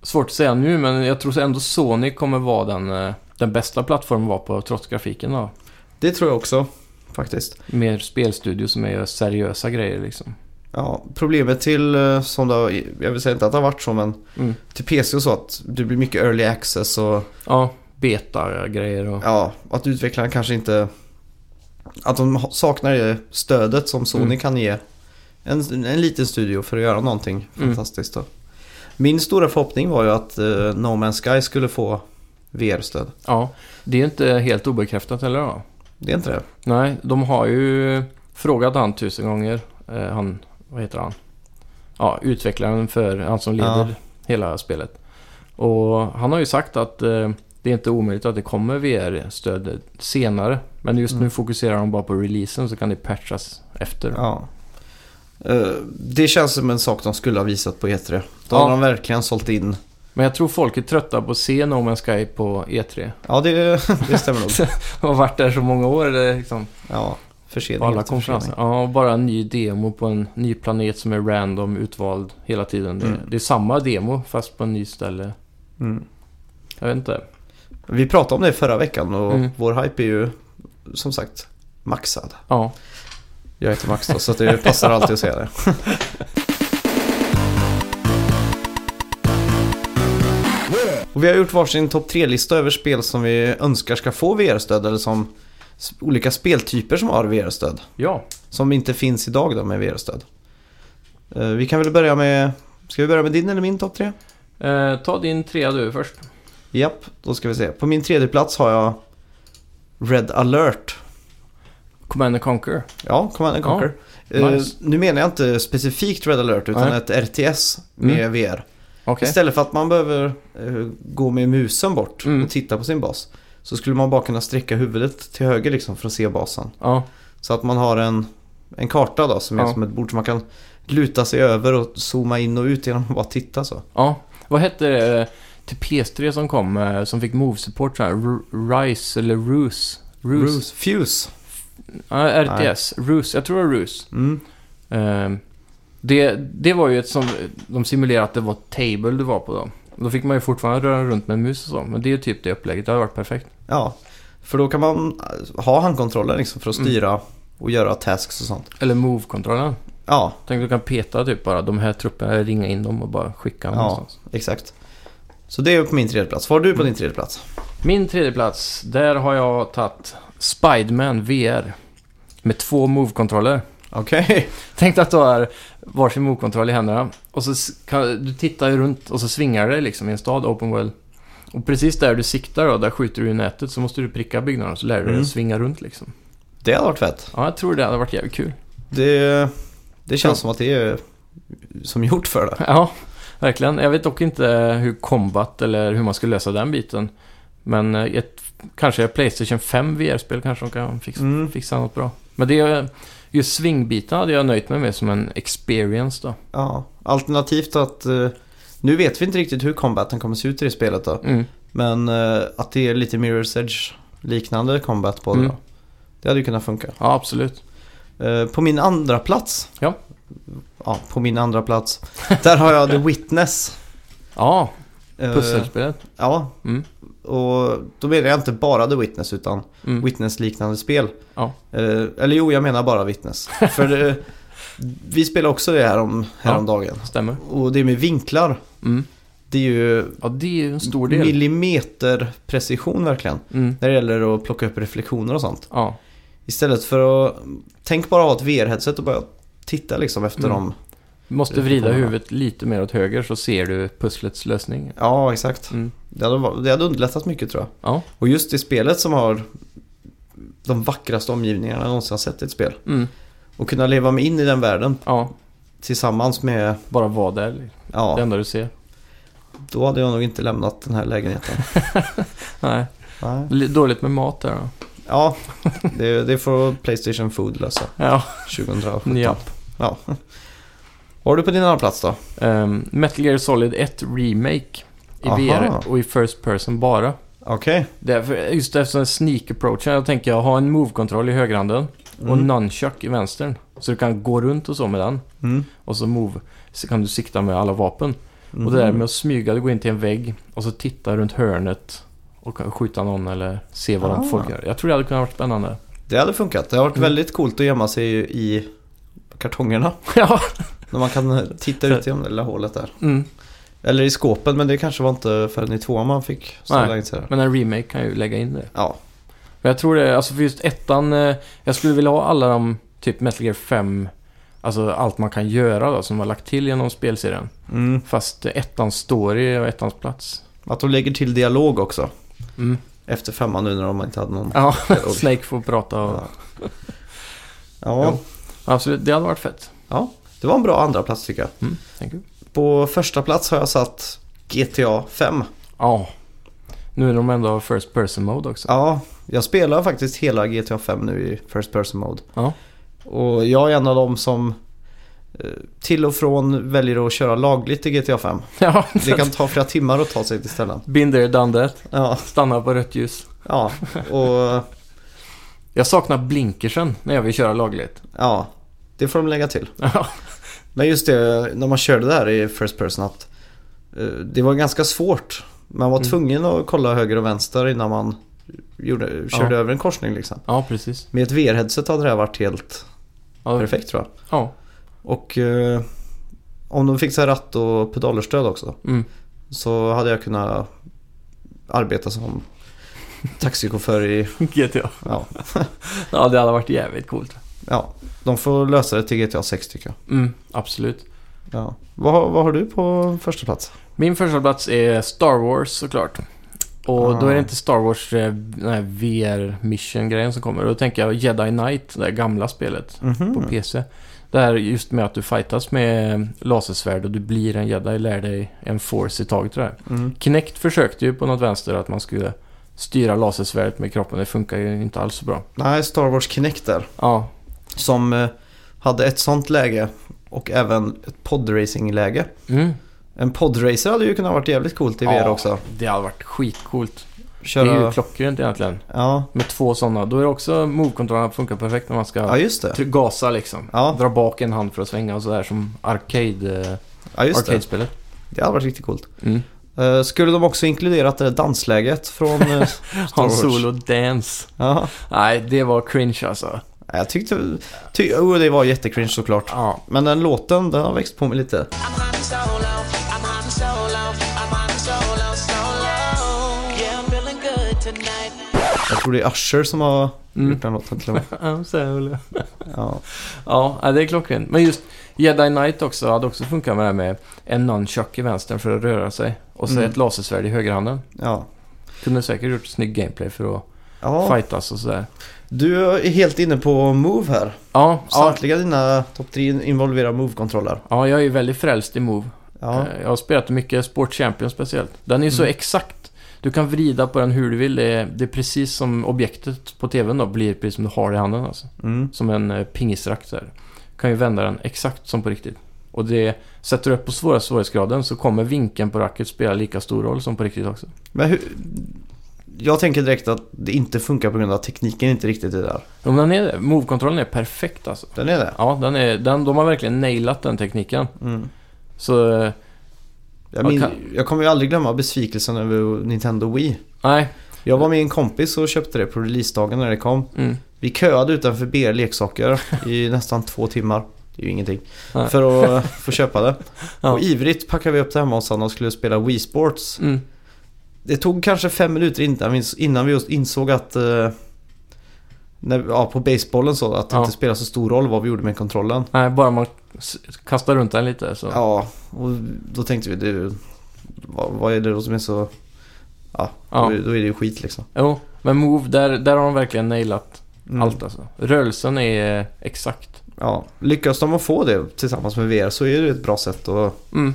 Speaker 3: svårt att säga nu, men jag tror ändå Sony kommer vara den, eh, den bästa plattformen att vara på, trots grafiken då.
Speaker 2: Det tror jag också, faktiskt.
Speaker 3: Mer spelstudio som är seriösa grejer liksom.
Speaker 2: Ja, problemet till, eh, som det har, jag vill säga inte att det har varit så, men
Speaker 3: Mm.
Speaker 2: till PC och så att det blir mycket early access och
Speaker 3: Ja, beta-grejer och...
Speaker 2: ja, att utvecklarna kanske inte... Att de ha- saknar det stödet som Sony
Speaker 3: Mm.
Speaker 2: kan ge en, en liten studio för att göra någonting
Speaker 3: Mm.
Speaker 2: fantastiskt. Då. Min stora förhoppning var ju att eh, No Man's Sky skulle få VR-stöd.
Speaker 3: Ja, det är inte helt obekräftat heller då.
Speaker 2: Det är inte det?
Speaker 3: Nej, de har ju frågat han tusen gånger. Eh, han, vad heter han? Ja, utvecklaren för han som leder
Speaker 2: Ja.
Speaker 3: hela spelet. Och han har ju sagt att eh, det är inte omöjligt att det kommer VR-stöd senare. Men just nu fokuserar de bara på releasen så kan det patchas efter.
Speaker 2: Mm. Ja. Eh, det känns som en sak de skulle ha visat på E3. Då
Speaker 3: Ja.
Speaker 2: har de verkligen sålt in. Men
Speaker 3: Men jag tror folk är trötta på att se No Man's Sky på E3.
Speaker 2: Ja, det, det stämmer nog.
Speaker 3: De har varit där så många år. Det är liksom,
Speaker 2: Ja, försening.
Speaker 3: på alla
Speaker 2: efter
Speaker 3: konferenser.
Speaker 2: försening.
Speaker 3: Ja, och bara en ny demo på en ny planet som är random utvald hela tiden. Det,
Speaker 2: Mm.
Speaker 3: det är samma demo fast på en ny ställe.
Speaker 2: Mm.
Speaker 3: Jag vet inte.
Speaker 2: Vi pratade om det förra veckan och
Speaker 3: Mm.
Speaker 2: vår hype är ju som sagt maxad.
Speaker 3: Ja,
Speaker 2: Jag heter Max då, så att det passar alltid att säga det. Och vi har gjort varsin topp 3-lista över spel som vi önskar ska få VR-stöd eller som s- olika speltyper som har VR-stöd.
Speaker 3: ja.
Speaker 2: Som inte finns idag då med VR-stöd. Eh, Vi kan väl börja med... Ska vi börja med din eller min topp 3?
Speaker 3: Eh, ta din trea du först.
Speaker 2: Japp, då ska vi se. På min tredje plats har jag Red Alert.
Speaker 3: Command and Conquer.
Speaker 2: Ja, Command and
Speaker 3: Ja,
Speaker 2: Conquer. Eh,
Speaker 3: nice.
Speaker 2: nu menar jag inte specifikt Red Alert utan
Speaker 3: Nej.
Speaker 2: ett RTS med VR.
Speaker 3: Mm. Okej.
Speaker 2: Istället för att man behöver eh, gå med musen bort
Speaker 3: Mm.
Speaker 2: och titta på sin bas. Så skulle man bara kunna sträcka huvudet till höger liksom för att se basen.
Speaker 3: Ja,
Speaker 2: Så att man har en, en karta då som är
Speaker 3: Ja.
Speaker 2: som ett bord som man kan luta sig över och zooma in och ut genom att bara titta så.
Speaker 3: ja. Vad hette det eh, till PS3 som kom, eh, som fick Move-support så här? R- Rise eller Ruse? Ruse?
Speaker 2: Ruse. Fuse.
Speaker 3: Ja, RTS. Ruse. Jag tror det var Ruse.
Speaker 2: Mm.
Speaker 3: Eh, det, det var ju ett som de simulerade att det var Table du var på då. Då fick man ju fortfarande röra runt med mus och så. Men det är ju typ det upplägget. Det hade varit perfekt.
Speaker 2: Ja, för då kan man eh, ha handkontrollen liksom för att
Speaker 3: Mm.
Speaker 2: styra och göra tasks och sånt.
Speaker 3: Eller Move-kontrollen.
Speaker 2: Ja,
Speaker 3: Tänk du kan peta typ bara de här trupperna, ringa in dem och bara skicka dem
Speaker 2: Ja.
Speaker 3: någonstans.
Speaker 2: exakt. Så det är på min tredje plats. Vad har du på din tredje plats?
Speaker 3: Min tredje plats, där har jag tagit Spiderman VR. Med två Move-kontroller.
Speaker 2: Okej.
Speaker 3: Tänk dig att du har varsin Move-kontroll i händerna. Och så s- kan, du tittar ju runt och så svingar det liksom i en stad, open world. Och precis där du siktar då, där skjuter du i nätet, så måste du pricka byggnaderna så lär du dig
Speaker 2: Mm.
Speaker 3: att svinga runt liksom.
Speaker 2: Det hade varit fett.
Speaker 3: Ja, jag tror det hade varit jävligt kul.
Speaker 2: Det, det känns
Speaker 3: Ja.
Speaker 2: som att det är som gjort för det.
Speaker 3: Ja, verkligen. Jag vet dock inte hur combat eller hur man ska lösa den biten. Men eh, ett, kanske ett Playstation 5 VR-spel kanske de kan fixa,
Speaker 2: Mm.
Speaker 3: fixa något bra. Men det är just swingbiten hade jag nöjt mig med som en experience då.
Speaker 2: Ja. Alternativt att... eh, Nu vet vi inte riktigt hur combaten kommer se ut i det spelet då.
Speaker 3: Mm.
Speaker 2: Men eh, att det är lite Mirror's Edge liknande combat på det
Speaker 3: Mm.
Speaker 2: då. Det hade ju kunnat funka.
Speaker 3: Ja, absolut.
Speaker 2: Eh, På min andra plats
Speaker 3: Ja.
Speaker 2: Ja, på min andra plats Där har jag The Witness.
Speaker 3: Ja,
Speaker 2: Eh,
Speaker 3: pusselspelet.
Speaker 2: Ja.
Speaker 3: Mm.
Speaker 2: Och då menar jag inte bara The Witness utan
Speaker 3: Mm.
Speaker 2: Witness-liknande spel.
Speaker 3: Ja.
Speaker 2: Eh, eller jo, jag menar bara Witness. För eh, vi spelade också det här om, häromdagen.
Speaker 3: Stämmer.
Speaker 2: Och det med vinklar,
Speaker 3: Mm.
Speaker 2: det är ju
Speaker 3: Ja, det är ju en stor del.
Speaker 2: millimeterprecision verkligen.
Speaker 3: Mm.
Speaker 2: När det gäller att plocka upp reflektioner och sånt.
Speaker 3: Ja.
Speaker 2: Istället för att, tänk bara ha ett VR-headset och bara titta liksom efter
Speaker 3: Mm.
Speaker 2: dem.
Speaker 3: Du måste
Speaker 2: Det
Speaker 3: vrida
Speaker 2: kommer.
Speaker 3: huvudet lite mer åt höger så ser du pusslets lösning.
Speaker 2: Ja, exakt.
Speaker 3: Mm.
Speaker 2: Det hade, var- det hade underlättat mycket tror jag.
Speaker 3: Ja.
Speaker 2: Och just det spelet som har de vackraste omgivningarna jag någonsin har sett i ett spel.
Speaker 3: Mm.
Speaker 2: Och kunna leva mig in i den världen
Speaker 3: Ja,
Speaker 2: tillsammans med,
Speaker 3: bara vara där.
Speaker 2: ja,
Speaker 3: Det enda du ser.
Speaker 2: då hade jag nog inte lämnat den här lägenheten.
Speaker 3: Nej.
Speaker 2: Nej.
Speaker 3: Li- Dåligt med mat där då.
Speaker 2: Ja, det, det får Playstation Food lösa
Speaker 3: Ja,
Speaker 2: 2017.
Speaker 3: ja.
Speaker 2: Ja. Vad har du på din andra plats då?
Speaker 3: Ehm, Metal Gear Solid 1 Remake i
Speaker 2: Aha.
Speaker 3: VR och i First Person bara.
Speaker 2: Okej.
Speaker 3: Därför, just eftersom sneak approachen, jag tänker jag har en move-kontroll i högerhanden och
Speaker 2: Mm.
Speaker 3: nunchuck i vänstern. Så du kan gå runt och så med den.
Speaker 2: Mm.
Speaker 3: Och så move, så kan du sikta med alla vapen.
Speaker 2: Mm.
Speaker 3: Och det där med att smyga, du går in till en vägg och så titta runt hörnet och kan skjuta någon eller se vad
Speaker 2: Ah.
Speaker 3: de folk gör. Jag tror det hade kunnat vara spännande.
Speaker 2: Det hade funkat. Det har varit
Speaker 3: Mm.
Speaker 2: väldigt coolt att gömma sig i i kartongerna.
Speaker 3: ja.
Speaker 2: När man kan titta ut genom det lilla hålet där.
Speaker 3: Mm.
Speaker 2: Eller i skåpen, men det kanske var inte förrän i tvåan man fick ställa
Speaker 3: Nej.
Speaker 2: in sig där.
Speaker 3: Men en remake kan ju lägga in det.
Speaker 2: Ja.
Speaker 3: Men jag tror det, alltså för just ettan, eh, jag skulle vilja ha alla de, typ Metal Gear 5, alltså allt man kan göra då, som de har lagt till genom spelserien.
Speaker 2: Mm.
Speaker 3: Fast eh, ettans story och ettans plats.
Speaker 2: Att de lägger till dialog också.
Speaker 3: Mm.
Speaker 2: Efter femman nu när de inte hade någon.
Speaker 3: Ja,
Speaker 2: Dialog.
Speaker 3: Snake får prata och...
Speaker 2: Ja. ja.
Speaker 3: Absolut, det hade varit fett.
Speaker 2: ja. Det var en bra andra plats tycker jag.
Speaker 3: Mm, thank you.
Speaker 2: På första plats har jag satt GTA 5.
Speaker 3: Ja. Nu är de ändå av First Person Mode också.
Speaker 2: Ja, jag spelar faktiskt hela GTA 5 nu i First Person Mode.
Speaker 3: Ja.
Speaker 2: Och jag är en av dem som eh, till och från väljer att köra lagligt i GTA 5.
Speaker 3: Ja,
Speaker 2: Det kan ta flera timmar att ta sig till ställen.
Speaker 3: Been there, done that.
Speaker 2: Ja,
Speaker 3: Stanna på rött ljus.
Speaker 2: ja, och
Speaker 3: Jag saknar blinkersen när jag vill köra lagligt.
Speaker 2: ja, det får de lägga till.
Speaker 3: Ja.
Speaker 2: Men just det, när man körde där i First Person att eh, det var ganska svårt. Man var
Speaker 3: Mm.
Speaker 2: tvungen att kolla höger och vänster innan man gjorde, körde
Speaker 3: Ja.
Speaker 2: över en korsning liksom.
Speaker 3: ja, precis.
Speaker 2: Med ett VR-headset hade det här varit helt
Speaker 3: Ja,
Speaker 2: perfekt tror jag.
Speaker 3: Ja.
Speaker 2: Och eh, om de fixar ratt och pedalerstöd också
Speaker 3: Mm.
Speaker 2: så hade jag kunnat arbeta som taxichaufför i...
Speaker 3: GTA.
Speaker 2: Ja,
Speaker 3: Ja, det hade varit jävligt coolt.
Speaker 2: ja. De får lösa det till GTA 6 tycker jag.
Speaker 3: Mm, absolut.
Speaker 2: Ja. Vad, har- vad har du på första plats?
Speaker 3: Min första plats är Star Wars såklart. Och då är
Speaker 2: Ah.
Speaker 3: det inte Star Wars eh, den här VR mission-grejen som kommer. Då tänker jag Jedi Knight, det där gamla spelet
Speaker 2: Mhm.
Speaker 3: på PC. Det här just med att du fightas med lasersvärd och du blir en jedi, lär dig en force i taget det där.
Speaker 2: Mm.
Speaker 3: Kinect försökte ju på något vänster att man skulle styra lasersvärdet med kroppen. Det funkar ju inte alls så bra.
Speaker 2: Nej, Star Wars Kinect där.
Speaker 3: Ja,
Speaker 2: Som eh, hade ett sånt läge och även ett podracing-läge.
Speaker 3: mm.
Speaker 2: En podracer hade ju kunnat varit jävligt coolt i VR
Speaker 3: Ja,
Speaker 2: också.
Speaker 3: det hade varit skitcoolt. Det är ju
Speaker 2: Köra...
Speaker 3: klockrent egentligen.
Speaker 2: Ja.
Speaker 3: Med två sådana. Då är det också move-kontrollerna funkar perfekt när man ska
Speaker 2: ja, just det.
Speaker 3: tryck- gasa liksom.
Speaker 2: Ja.
Speaker 3: Dra bak en hand för att svänga och sådär som arcade, eh,
Speaker 2: Ja, just det.
Speaker 3: arcade-spelet.
Speaker 2: Det hade varit riktigt coolt.
Speaker 3: Mm.
Speaker 2: Eh, skulle de också inkluderat det där dansläget från eh, Star
Speaker 3: Han
Speaker 2: Wars?
Speaker 3: Solo Dance.
Speaker 2: Ja.
Speaker 3: Nej, det var cringe alltså.
Speaker 2: Nej, Jag tyckte... Ty... Oh, det var jättecringe såklart.
Speaker 3: Ja.
Speaker 2: Men den låten, den har växt på mig lite.
Speaker 4: I'm hunting solo. I'm hunting solo. I'm hunting solo, solo. Yeah, I'm feeling good tonight.
Speaker 2: Jag tror det är Usher som har
Speaker 3: Mm.
Speaker 2: gjort den låten till och med.
Speaker 3: I'm solo.
Speaker 2: Ja.
Speaker 3: Ja, ja, det är klockrent. Men just Jedi Knight också hade också funkat med det här med en nunchuck i vänstern för att röra sig. Och så
Speaker 2: Mm.
Speaker 3: ett lasersvärd i högerhanden.
Speaker 2: Ja.
Speaker 3: Kunde säkert gjort snygg gameplay för att
Speaker 2: ja.
Speaker 3: fightas och sådär.
Speaker 2: Du är helt inne på Move här.
Speaker 3: Ja, ja,
Speaker 2: Samtliga dina topp 3 involverar Move-kontroller.
Speaker 3: ja, jag är ju väldigt frälst i Move.
Speaker 2: Ja. Mm.
Speaker 3: Eh, Jag har spelat mycket Sport Champion speciellt. Den är ju så exakt. Du kan vrida på den hur du vill. Det är, det är precis som objektet på tvn då blir precis som du har i handen alltså.
Speaker 2: Mm.
Speaker 3: Som en eh, pingisrack där. Du kan ju vända den exakt som på riktigt. Och det sätter du upp på svåra svårighetsgraden så kommer vinkeln på racket spela lika stor roll som på riktigt också.
Speaker 2: Men hur... Jag tänker direkt att det inte funkar på grund av att tekniken inte riktigt är där.
Speaker 3: Om den är det. Move-kontrollen är perfekt alltså.
Speaker 2: Den är det.
Speaker 3: Ja, den är, den, de har verkligen nailat den tekniken.
Speaker 2: Mm.
Speaker 3: Så, eh,
Speaker 2: Jag, min...
Speaker 3: Jag
Speaker 2: jag kommer ju aldrig glömma besvikelsen över Nintendo Wii.
Speaker 3: nej.
Speaker 2: Jag var med en kompis och köpte det på releasedagen när det kom.
Speaker 3: Mm.
Speaker 2: Vi köade utanför BR Leksaker i nästan två timmar. Det är ju ingenting.
Speaker 3: Nej.
Speaker 2: För att få köpa det.
Speaker 3: Ja.
Speaker 2: Och ivrigt packade vi upp det hemma hos honom och skulle spela Wii Sports.
Speaker 3: Mm.
Speaker 2: Det tog kanske fem minuter innan vi, innan vi just insåg att eh, när, ja, på basebollen så att det
Speaker 3: Ja.
Speaker 2: inte spelar så stor roll vad vi gjorde med kontrollen.
Speaker 3: Nej, bara man s- kastar runt den lite så.
Speaker 2: Ja, och då tänkte vi du, vad, vad är det då som är så... Ja,
Speaker 3: Ja.
Speaker 2: Då, är- då är det ju skit liksom.
Speaker 3: Jo, men Move, där, där har de verkligen nailat
Speaker 2: Mm.
Speaker 3: allt alltså. Rörelsen är eh, exakt.
Speaker 2: Ja, lyckas de att få det tillsammans med VR så är det ett bra sätt att...
Speaker 3: Mm.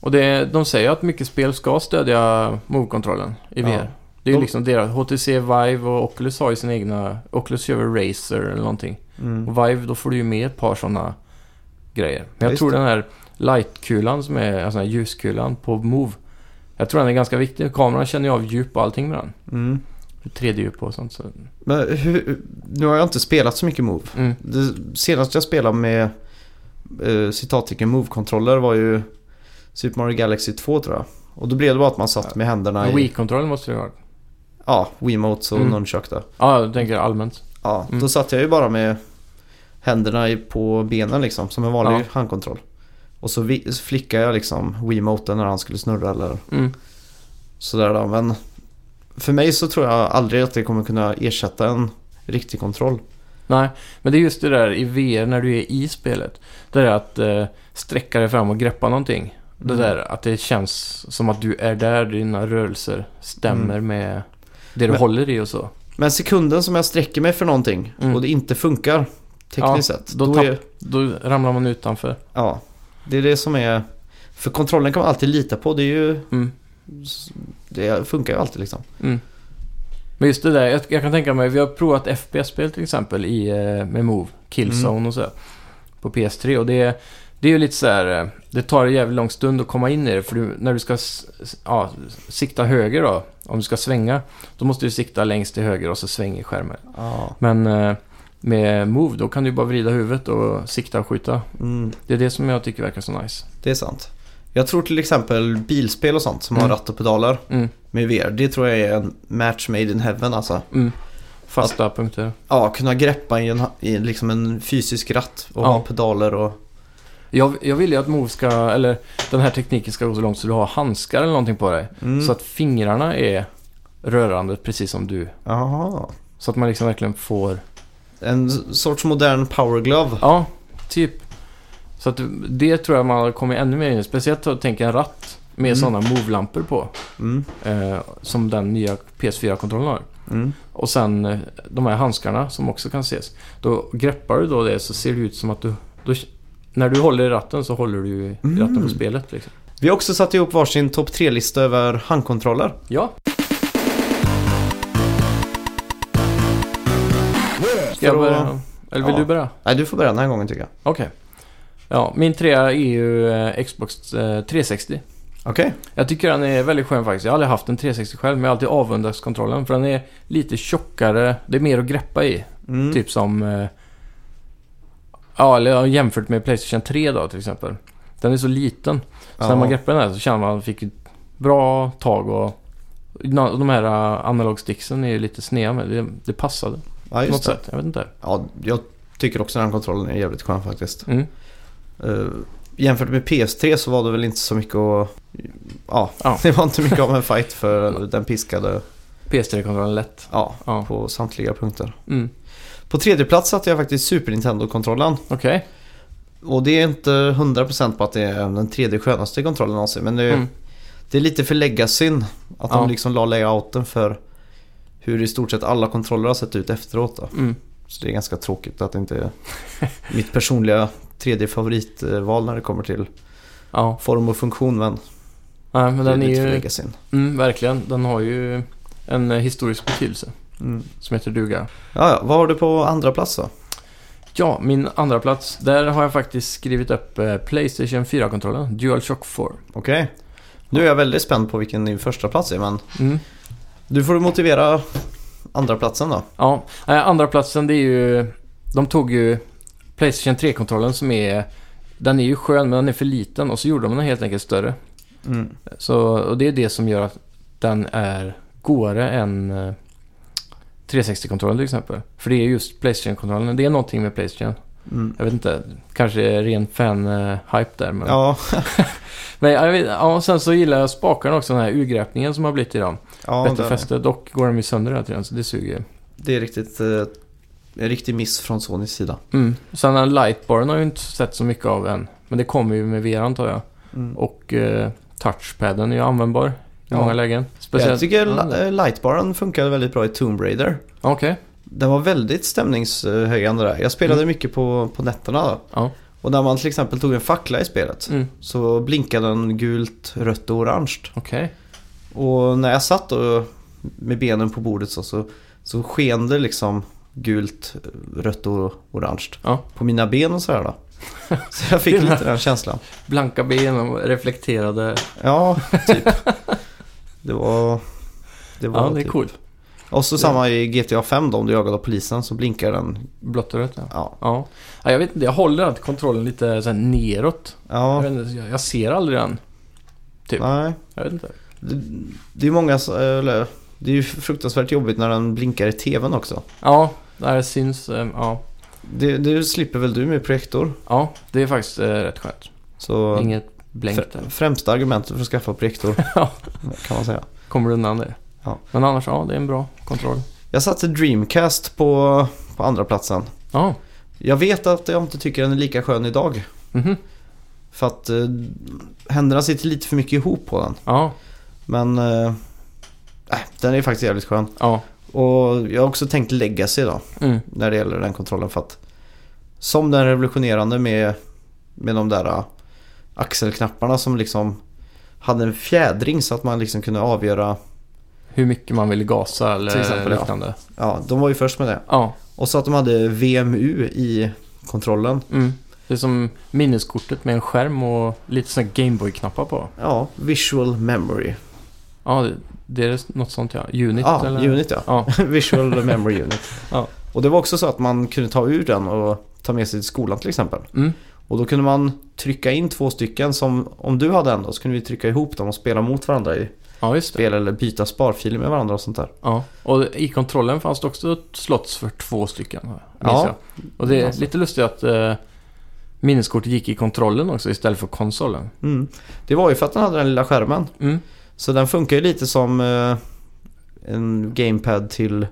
Speaker 3: Och det, de säger att mycket spel ska stödja Move-kontrollen i
Speaker 2: Ja.
Speaker 3: VR. Det är ju
Speaker 2: De-
Speaker 3: liksom deras. HTC Vive och Oculus har ju sina egna. Oculus gör väl Razer eller någonting.
Speaker 2: Mm.
Speaker 3: Och Vive, då får du ju med ett par sådana grejer. Men jag
Speaker 2: Just
Speaker 3: tror
Speaker 2: det.
Speaker 3: den här lightkulan som är, alltså den här ljuskulan på Move. Jag tror den är ganska viktig. Kameran känner ju av djup och allting med den.
Speaker 2: Mm.
Speaker 3: 3D-djup och sånt. Så.
Speaker 2: Men hur, nu har jag inte spelat så mycket Move.
Speaker 3: Mm.
Speaker 2: Det senaste jag spelade med eh, citattecken Move-kontroller var ju Super Mario Galaxy 2 tror jag. Och då blev det bara att man satt med händerna i...
Speaker 3: Wii-kontrollen måste det ju vara.
Speaker 2: Ja, Wiimotes och
Speaker 3: Mm.
Speaker 2: Nunchuck då.
Speaker 3: Ja, jag tänker allmänt.
Speaker 2: Ja,
Speaker 3: Mm.
Speaker 2: då satt jag ju bara med händerna i- på benen liksom som en vanlig
Speaker 3: Ja.
Speaker 2: handkontroll. Och så, vi, så flickade jag liksom Wiimoten när han skulle snurra eller
Speaker 3: Mm.
Speaker 2: sådär då. Men för mig så tror jag aldrig att det kommer kunna ersätta en riktig kontroll.
Speaker 3: Nej, men det är just det där i VR när du är i spelet. Det där att eh, sträcka dig fram och greppa någonting. Det
Speaker 2: Mm.
Speaker 3: där att det känns som att du är där, dina rörelser stämmer med det du
Speaker 2: Mm. Men-
Speaker 3: håller i och så.
Speaker 2: Men sekunden som jag sträcker mig för någonting
Speaker 3: Mm.
Speaker 2: och det inte funkar tekniskt
Speaker 3: Ja,
Speaker 2: sett.
Speaker 3: då
Speaker 2: Då,
Speaker 3: tapp-
Speaker 2: är,
Speaker 3: Då ramlar man utanför.
Speaker 2: ja, det är det som är... För kontrollen kan man alltid lita på. Det, är ju,
Speaker 3: Mm.
Speaker 2: det funkar ju alltid liksom.
Speaker 3: Mm. Men just det där, jag, jag kan tänka mig, vi har provat FPS-spel till exempel i, eh, med Move, Killzone och så. På PS3 och det, det är ju lite så här, eh, det tar en jävligt lång stund att komma in i det för du, när du ska s- s- ja, sikta höger då, om du ska svänga, då måste du sikta längst till höger och så svänger skärmen.
Speaker 2: Ja.
Speaker 3: Men eh, med Move då kan du bara vrida huvudet och sikta och skjuta.
Speaker 2: Mm,
Speaker 3: Det är det som jag tycker verkar så nice.
Speaker 2: det är sant. Jag tror till exempel bilspel och sånt som
Speaker 3: Mm.
Speaker 2: har ratt och pedaler
Speaker 3: Mm,
Speaker 2: med VR. Det tror jag är en match made in heaven alltså.
Speaker 3: mm. Fasta punkter.
Speaker 2: Ja, kunna greppa i, en, i liksom en fysisk ratt och
Speaker 3: Ja.
Speaker 2: ha pedaler och...
Speaker 3: Jag, jag vill ju att Move ska, eller den här tekniken ska gå så långt så du har handskar eller någonting på dig.
Speaker 2: Mm.
Speaker 3: Så att fingrarna är rörande precis som du.
Speaker 2: Jaha.
Speaker 3: Så att man liksom verkligen får,
Speaker 2: En sorts modern power glove.
Speaker 3: ja, typ. Så att det tror jag man har kommit ännu mer in i. Speciellt att tänka en ratt med
Speaker 2: Mm.
Speaker 3: sådana Move-lampor på.
Speaker 2: Mm.
Speaker 3: Eh, som den nya PS4-kontrollen har.
Speaker 2: Mm.
Speaker 3: Och sen eh, de här handskarna som också kan ses. Då greppar du då det så ser det ut som att du Då, när du håller i ratten så håller du ju i ratten
Speaker 2: Mm.
Speaker 3: på spelet liksom.
Speaker 2: Vi har också satt ihop varsin topp 3-lista över handkontroller.
Speaker 3: Ja. Ska jag
Speaker 2: För att-
Speaker 3: börja? Eller vill
Speaker 2: Ja.
Speaker 3: du börja?
Speaker 2: Nej, du får börja den här gången tycker jag.
Speaker 3: Okej. Ja, min trea är ju eh, Xbox eh, 360.
Speaker 2: Okej.
Speaker 3: Jag tycker den är väldigt skön faktiskt. Jag har aldrig haft en 360 själv, men jag har alltid avundats kontrollen. För den är lite tjockare. Det är mer att greppa i.
Speaker 2: Mm.
Speaker 3: Typ som... eh, Ja, eller ja, jämfört med Playstation 3 då till exempel. Den är så liten. Så
Speaker 2: Ja.
Speaker 3: när man greppar den här så känner man att man fick ett bra tag och... na- De här eh, analogsticksen är ju lite sneda men det, det passade
Speaker 2: Ja,
Speaker 3: på något
Speaker 2: just det.
Speaker 3: sätt. Jag vet inte.
Speaker 2: Ja, jag tycker också den här kontrollen är jävligt skön faktiskt.
Speaker 3: Mm.
Speaker 2: Eh, jämfört med PS3 så var det väl inte så mycket att... Ja,
Speaker 3: Ja.
Speaker 2: det var inte mycket av en fight för den piskade
Speaker 3: PS3-kontrollen lätt.
Speaker 2: ja,
Speaker 3: Ja.
Speaker 2: på samtliga punkter.
Speaker 3: Mm.
Speaker 2: På tredje plats satte jag faktiskt Super Nintendo-kontrollen.
Speaker 3: Okej.
Speaker 2: Och det är inte 100% på att det är den tredje skönaste kontrollen någonsin. Men det,
Speaker 3: Mm.
Speaker 2: det är lite för legacyn. Att
Speaker 3: Ja.
Speaker 2: de liksom la layouten för hur i stort sett alla kontroller har sett ut efteråt. Då.
Speaker 3: Mm.
Speaker 2: Så det är ganska tråkigt att det inte är mitt personliga tredje favoritval när det kommer till
Speaker 3: Ja.
Speaker 2: form och funktion. Men
Speaker 3: Nej, men
Speaker 2: det är
Speaker 3: den är
Speaker 2: lite för
Speaker 3: ju...
Speaker 2: legacyn.
Speaker 3: Mm, verkligen. Den har ju en eh, historisk betydelse
Speaker 2: Mm.
Speaker 3: som heter duga.
Speaker 2: Ja, ja. Vad har du på andra plats då?
Speaker 3: Ja, min andra plats Där har jag faktiskt skrivit upp eh, Playstation 4-kontrollen. DualShock 4.
Speaker 2: Okej. Nu är jag väldigt spänd på vilken din första plats är. Men
Speaker 3: Mm.
Speaker 2: du får motivera andra platsen då.
Speaker 3: Ja, eh, andra platsen det är ju... De tog ju Playstation 3-kontrollen som är... Den är ju skön men den är för liten och så gjorde de den helt enkelt större.
Speaker 2: Mm.
Speaker 3: Så, och det är det som gör att den är godare än eh, 360-kontrollen till exempel. För det är just Playstation-kontrollen. Det är någonting med Playstation.
Speaker 2: Mm.
Speaker 3: Jag vet inte, kanske är ren fan-hype där. Men,
Speaker 2: Ja,
Speaker 3: men jag vet, ja, och sen så gillar jag spakarna också, den här urgräpningen som har blivit i dem.
Speaker 2: ja
Speaker 3: Bättre
Speaker 2: det-
Speaker 3: fäste, dock går de ju sönder hela tiden så det suger ju.
Speaker 2: Det är riktigt eh, en riktig miss från Sonys sida.
Speaker 3: Mm. Sen den här lightbaren har jag ju inte sett så mycket av än. Men det kommer ju med VR antar jag. Och eh, touchpaden är ju användbar i
Speaker 2: Mm. Ja.
Speaker 3: många lägen.
Speaker 2: Jag tycker
Speaker 3: Ja,
Speaker 2: li-
Speaker 3: det-
Speaker 2: eh, lightbaren funkade väldigt bra i Tomb Raider.
Speaker 3: Okej,
Speaker 2: Den var väldigt stämningshöjande där. Jag spelade
Speaker 3: Mm.
Speaker 2: mycket på, på nätterna då.
Speaker 3: Ja.
Speaker 2: Och när man till exempel tog en fackla i spelet
Speaker 3: mm.
Speaker 2: så blinkade den gult, rött och orange.
Speaker 3: okej.
Speaker 2: Och när jag satt då med benen på bordet så, så, så sken det liksom gult, rött och orange
Speaker 3: Ja.
Speaker 2: på mina ben och sådär då. Så jag fick lite den känslan.
Speaker 3: Blanka ben och reflekterade.
Speaker 2: Ja, typ. Det var... Det var
Speaker 3: Ja, det är
Speaker 2: typ.
Speaker 3: coolt.
Speaker 2: Och så samma i GTA 5 då, om du jagar av polisen så blinkar den.
Speaker 3: Blått och rött ja.
Speaker 2: Ja.
Speaker 3: ja. Ja, jag vet inte, jag håller alltid kontrollen lite så här neråt. Jag,
Speaker 2: ja
Speaker 3: vet inte, jag- jag ser aldrig den. typ.
Speaker 2: nej.
Speaker 3: Jag vet inte.
Speaker 2: Det, det är många... s- Eller, det är ju fruktansvärt jobbigt när den blinkar i tvn också.
Speaker 3: Ja, där syns... eh, Ja,
Speaker 2: Det, det slipper väl du med projektor?
Speaker 3: ja det är faktiskt eh, rätt skönt.
Speaker 2: Så
Speaker 3: Inget blänk
Speaker 2: fr-
Speaker 3: där.
Speaker 2: främsta argumentet för att skaffa projektor
Speaker 3: Ja.
Speaker 2: kan man säga.
Speaker 3: Kommer du undan det.
Speaker 2: Ja.
Speaker 3: Men annars, ja, det är en bra kontroll.
Speaker 2: Jag satte Dreamcast på, på andra platsen.
Speaker 3: Ja,
Speaker 2: Jag vet att jag inte tycker den är lika skön idag.
Speaker 3: mhm.
Speaker 2: För att eh, händerna sitter lite för mycket ihop på den.
Speaker 3: Ja,
Speaker 2: Men eh, äh, den är faktiskt jävligt skön.
Speaker 3: ja.
Speaker 2: Och jag har också tänkt legacy då
Speaker 3: Mm.
Speaker 2: när det gäller den kontrollen för att som den revolutionerande med, med de där eh, axelknapparna som liksom hade en fjädring så att man liksom kunde avgöra.
Speaker 3: Hur mycket man vill gasa eller
Speaker 2: Till exempel, ja.
Speaker 3: liknande.
Speaker 2: Ja, de var ju först med det.
Speaker 3: Ja,
Speaker 2: Och så att de hade VMU i kontrollen.
Speaker 3: mm. Det är som minneskortet med en skärm och lite sådana Gameboy-knappar på.
Speaker 2: Ja, visual memory.
Speaker 3: Ja, det, det är något sånt ja. Unit
Speaker 2: Ja,
Speaker 3: eller?
Speaker 2: unit ja.
Speaker 3: Ja,
Speaker 2: Visual memory unit.
Speaker 3: Ja.
Speaker 2: Och det var också så att man kunde ta ur den och ta med sig till skolan till exempel.
Speaker 3: mm.
Speaker 2: Och då kunde man trycka in två stycken som om du hade en då så kunde vi trycka ihop dem och spela mot varandra i
Speaker 3: ja just det.
Speaker 2: spel eller byta sparfiler med varandra och sånt där.
Speaker 3: Ja, och i kontrollen fanns det också ett slotts för två stycken. minns
Speaker 2: Ja.
Speaker 3: Jag. Och det är
Speaker 2: Alltså.
Speaker 3: lite lustigt att eh, minneskortet gick i kontrollen också istället för konsolen.
Speaker 2: Mm. Det var ju för att den hade den lilla skärmen.
Speaker 3: Mm.
Speaker 2: Så den funkar ju lite som eh, en gamepad till,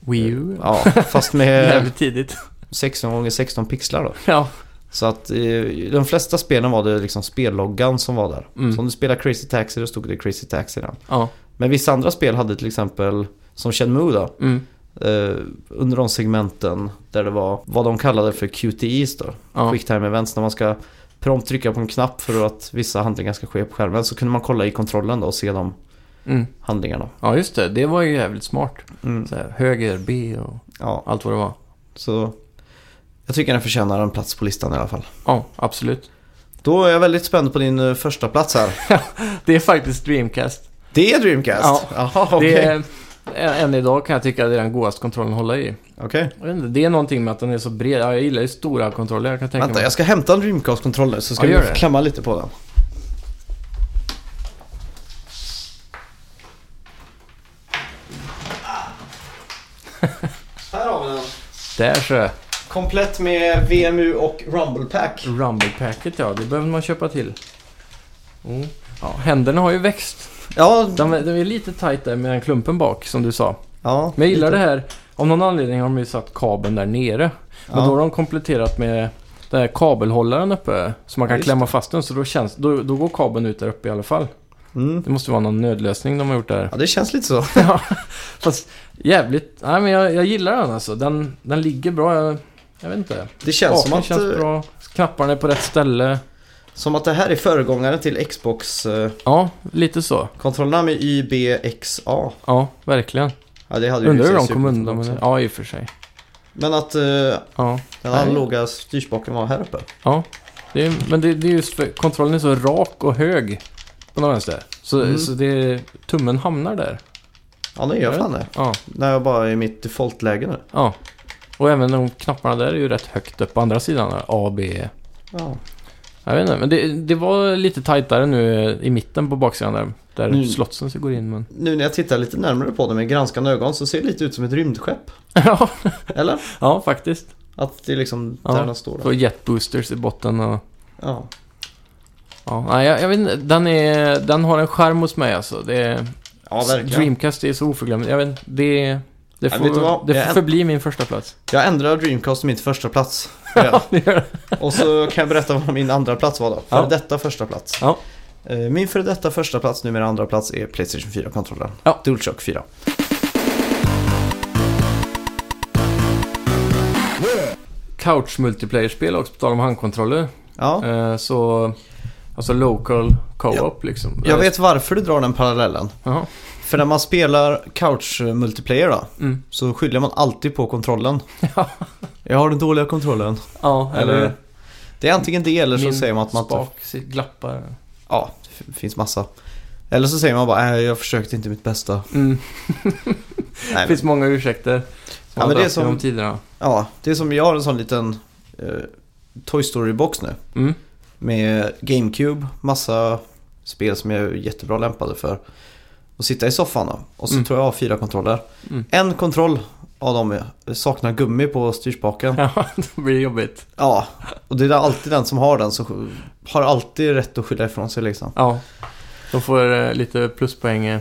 Speaker 3: Wii U.
Speaker 2: ja, fast med
Speaker 3: Jävligt tidigt.
Speaker 2: 16 x 16 pixlar då.
Speaker 3: ja.
Speaker 2: Så att eh, i de flesta spelen var det liksom spelloggan som var där.
Speaker 3: Mm.
Speaker 2: Så om du spelar Crazy Taxi då stod det Crazy Taxi i den.
Speaker 3: Ja.
Speaker 2: Men vissa andra spel hade till exempel, som Shenmue då,
Speaker 3: Mm.
Speaker 2: eh, under de segmenten där det var vad de kallade för QTEs då.
Speaker 3: Ja.
Speaker 2: Quick time events när man ska prompt trycka på en knapp för att vissa handlingar ska ske på skärmen. Så kunde man kolla i kontrollen då och se de
Speaker 3: Mm.
Speaker 2: handlingarna.
Speaker 3: ja, just det. Det var ju jävligt smart.
Speaker 2: Mm.
Speaker 3: Så här, höger, B och
Speaker 2: Ja,
Speaker 3: allt vad det var.
Speaker 2: så jag tycker den förtjänar en plats på listan i alla fall.
Speaker 3: Ja, absolut.
Speaker 2: Då är jag väldigt spänd på din eh, första plats här.
Speaker 3: Det är faktiskt Dreamcast.
Speaker 2: Det är Dreamcast? Jaha, okej.
Speaker 3: Det är, ä- än idag kan jag tycka att det är den godaste kontrollen att hålla i.
Speaker 2: Okej.
Speaker 3: Jag vet inte, Det är någonting med att den är så bred. Ja, jag gillar ju stora kontroller. Jag kan tänka
Speaker 2: Vänta,
Speaker 3: mig.
Speaker 2: jag ska hämta en Dreamcast-kontroll nu så ska
Speaker 3: Ja, gör
Speaker 2: vi
Speaker 3: det.
Speaker 2: klämma lite på den. Här har vi den.
Speaker 3: Där så.
Speaker 2: Komplett med VMU och Rumble Pack.
Speaker 3: Rumble Packet, ja. Det behöver man köpa till. Mm. Ja, händerna har ju växt.
Speaker 2: Ja,
Speaker 3: De, är- de är lite tajt där med den klumpen bak, som du sa.
Speaker 2: ja
Speaker 3: Men jag gillar
Speaker 2: lite.
Speaker 3: det här. Av någon anledning har de ju satt kabeln där nere. Men
Speaker 2: Ja.
Speaker 3: då har de kompletterat med den här kabelhållaren uppe. Så man
Speaker 2: Ja,
Speaker 3: kan
Speaker 2: just
Speaker 3: klämma fast den. Så då, känns, då, då går kabeln ut där uppe i alla fall.
Speaker 2: Mm.
Speaker 3: Det måste vara någon nödlösning de har gjort där.
Speaker 2: Ja, det känns lite så.
Speaker 3: Ja, Fast jävligt... Nej, men jag, jag gillar den alltså. Den, den ligger bra. Jag, jag vet inte.
Speaker 2: Det känns, som
Speaker 3: Baken
Speaker 2: att, eh,
Speaker 3: känns bra. Knapparna är på rätt ställe.
Speaker 2: som att det här är föregångaren till Xbox-kontrollerna
Speaker 3: Ja, lite så.
Speaker 2: med YBXA.
Speaker 3: Ja, verkligen.
Speaker 2: Ja, det hade ju
Speaker 3: Undrar
Speaker 2: i och
Speaker 3: hur
Speaker 2: för
Speaker 3: de
Speaker 2: sig
Speaker 3: kom
Speaker 2: Super
Speaker 3: undan med
Speaker 2: Nintendo också.
Speaker 3: det. Ja, i och för sig.
Speaker 2: Men att eh,
Speaker 3: Ja.
Speaker 2: den
Speaker 3: Nej.
Speaker 2: analoga styrspaken var här uppe.
Speaker 3: Ja, det är, men det, det är just för kontrollen är så rak och hög på något vänster. Så,
Speaker 2: Mm.
Speaker 3: så det, tummen hamnar där.
Speaker 2: Ja, nu gör
Speaker 3: Ja.
Speaker 2: fan det.
Speaker 3: Ja,
Speaker 2: När jag bara är i mitt default-läge nu.
Speaker 3: ja. Och även de knapparna där är ju rätt högt upp på andra sidan. där. A, B. E.
Speaker 2: Ja.
Speaker 3: Jag vet inte, men det, det var lite tajtare nu i mitten på baksidan där. Där
Speaker 2: Mm.
Speaker 3: slotsen så går in men...
Speaker 2: Nu när jag tittar lite närmare på det med granskande ögon så ser det lite ut som ett rymdskepp.
Speaker 3: ja,
Speaker 2: Eller?
Speaker 3: ja, faktiskt.
Speaker 2: Att det är liksom
Speaker 3: Ja.
Speaker 2: där den står.
Speaker 3: Och
Speaker 2: Där.
Speaker 3: jetboosters i botten och...
Speaker 2: Ja.
Speaker 3: Ja, nej, jag, jag vet inte. Den, är, den har en charm hos mig alltså. Det är,
Speaker 2: ja, verkligen.
Speaker 3: Dreamcast är så oförglömligt. Jag vet inte, det... Det
Speaker 2: Ja,
Speaker 3: får,
Speaker 2: vet du vad?
Speaker 3: det
Speaker 2: Jag-
Speaker 3: får förbli min första plats.
Speaker 2: Jag ändrar Dreamcast till mitt första plats. Ja.
Speaker 3: Det gör det.
Speaker 2: Och så kan jag berätta vad min andra plats var då. Före
Speaker 3: Ja.
Speaker 2: detta första plats.
Speaker 3: Ja.
Speaker 2: Eh, Min före detta första plats, numera andra plats, är Playstation 4-kontrollen.
Speaker 3: Ja.
Speaker 2: DualShock 4.
Speaker 3: couch multiplayer-spel också, på tal om handkontroller.
Speaker 2: Ja.
Speaker 3: Eh, så, alltså local co-op liksom.
Speaker 2: Jag vet varför du drar den parallellen.
Speaker 3: Jaha.
Speaker 2: För när man spelar couch-multiplayer då,
Speaker 3: Mm.
Speaker 2: så skyller man alltid på kontrollen. Jag har den dåliga kontrollen.
Speaker 3: Ja, eller,
Speaker 2: Eller, det är antingen det eller så
Speaker 3: min
Speaker 2: säger man att man inte...
Speaker 3: spak sitt- glappar.
Speaker 2: Ja, det f- finns massa. Eller så säger man bara "Nej, jag försökte inte mitt bästa.
Speaker 3: Mm.
Speaker 2: Nej,
Speaker 3: Det finns många ursäkter.
Speaker 2: Ja, men det är som-
Speaker 3: Genom tiderna.
Speaker 2: Ja, det är som jag har en sån liten eh, Toy Story-box nu.
Speaker 3: Mm.
Speaker 2: Med GameCube, massa spel som jag är jättebra lämpade för. Och sitta i soffan då. Och så
Speaker 3: Mm.
Speaker 2: tror jag av fyra kontroller.
Speaker 3: Mm.
Speaker 2: En kontroll av dem eh, saknar gummi på styrspaken.
Speaker 3: Ja, då blir det jobbigt.
Speaker 2: Ja, och det är alltid den som har den som har alltid rätt att skylla ifrån sig liksom.
Speaker 3: Ja. De får eh, lite pluspoäng eh,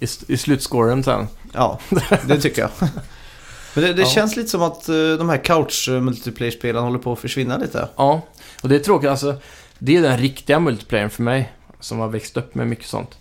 Speaker 3: i, s- i slutscoren sen.
Speaker 2: Ja, det tycker jag. Men det, det
Speaker 3: Ja.
Speaker 2: känns lite som att eh, de här couch-multiplayer-spelen håller på att försvinna lite.
Speaker 3: Ja, och det är tråkigt. Alltså, det är den riktiga multiplayern för mig. Som har växt upp med mycket sånt.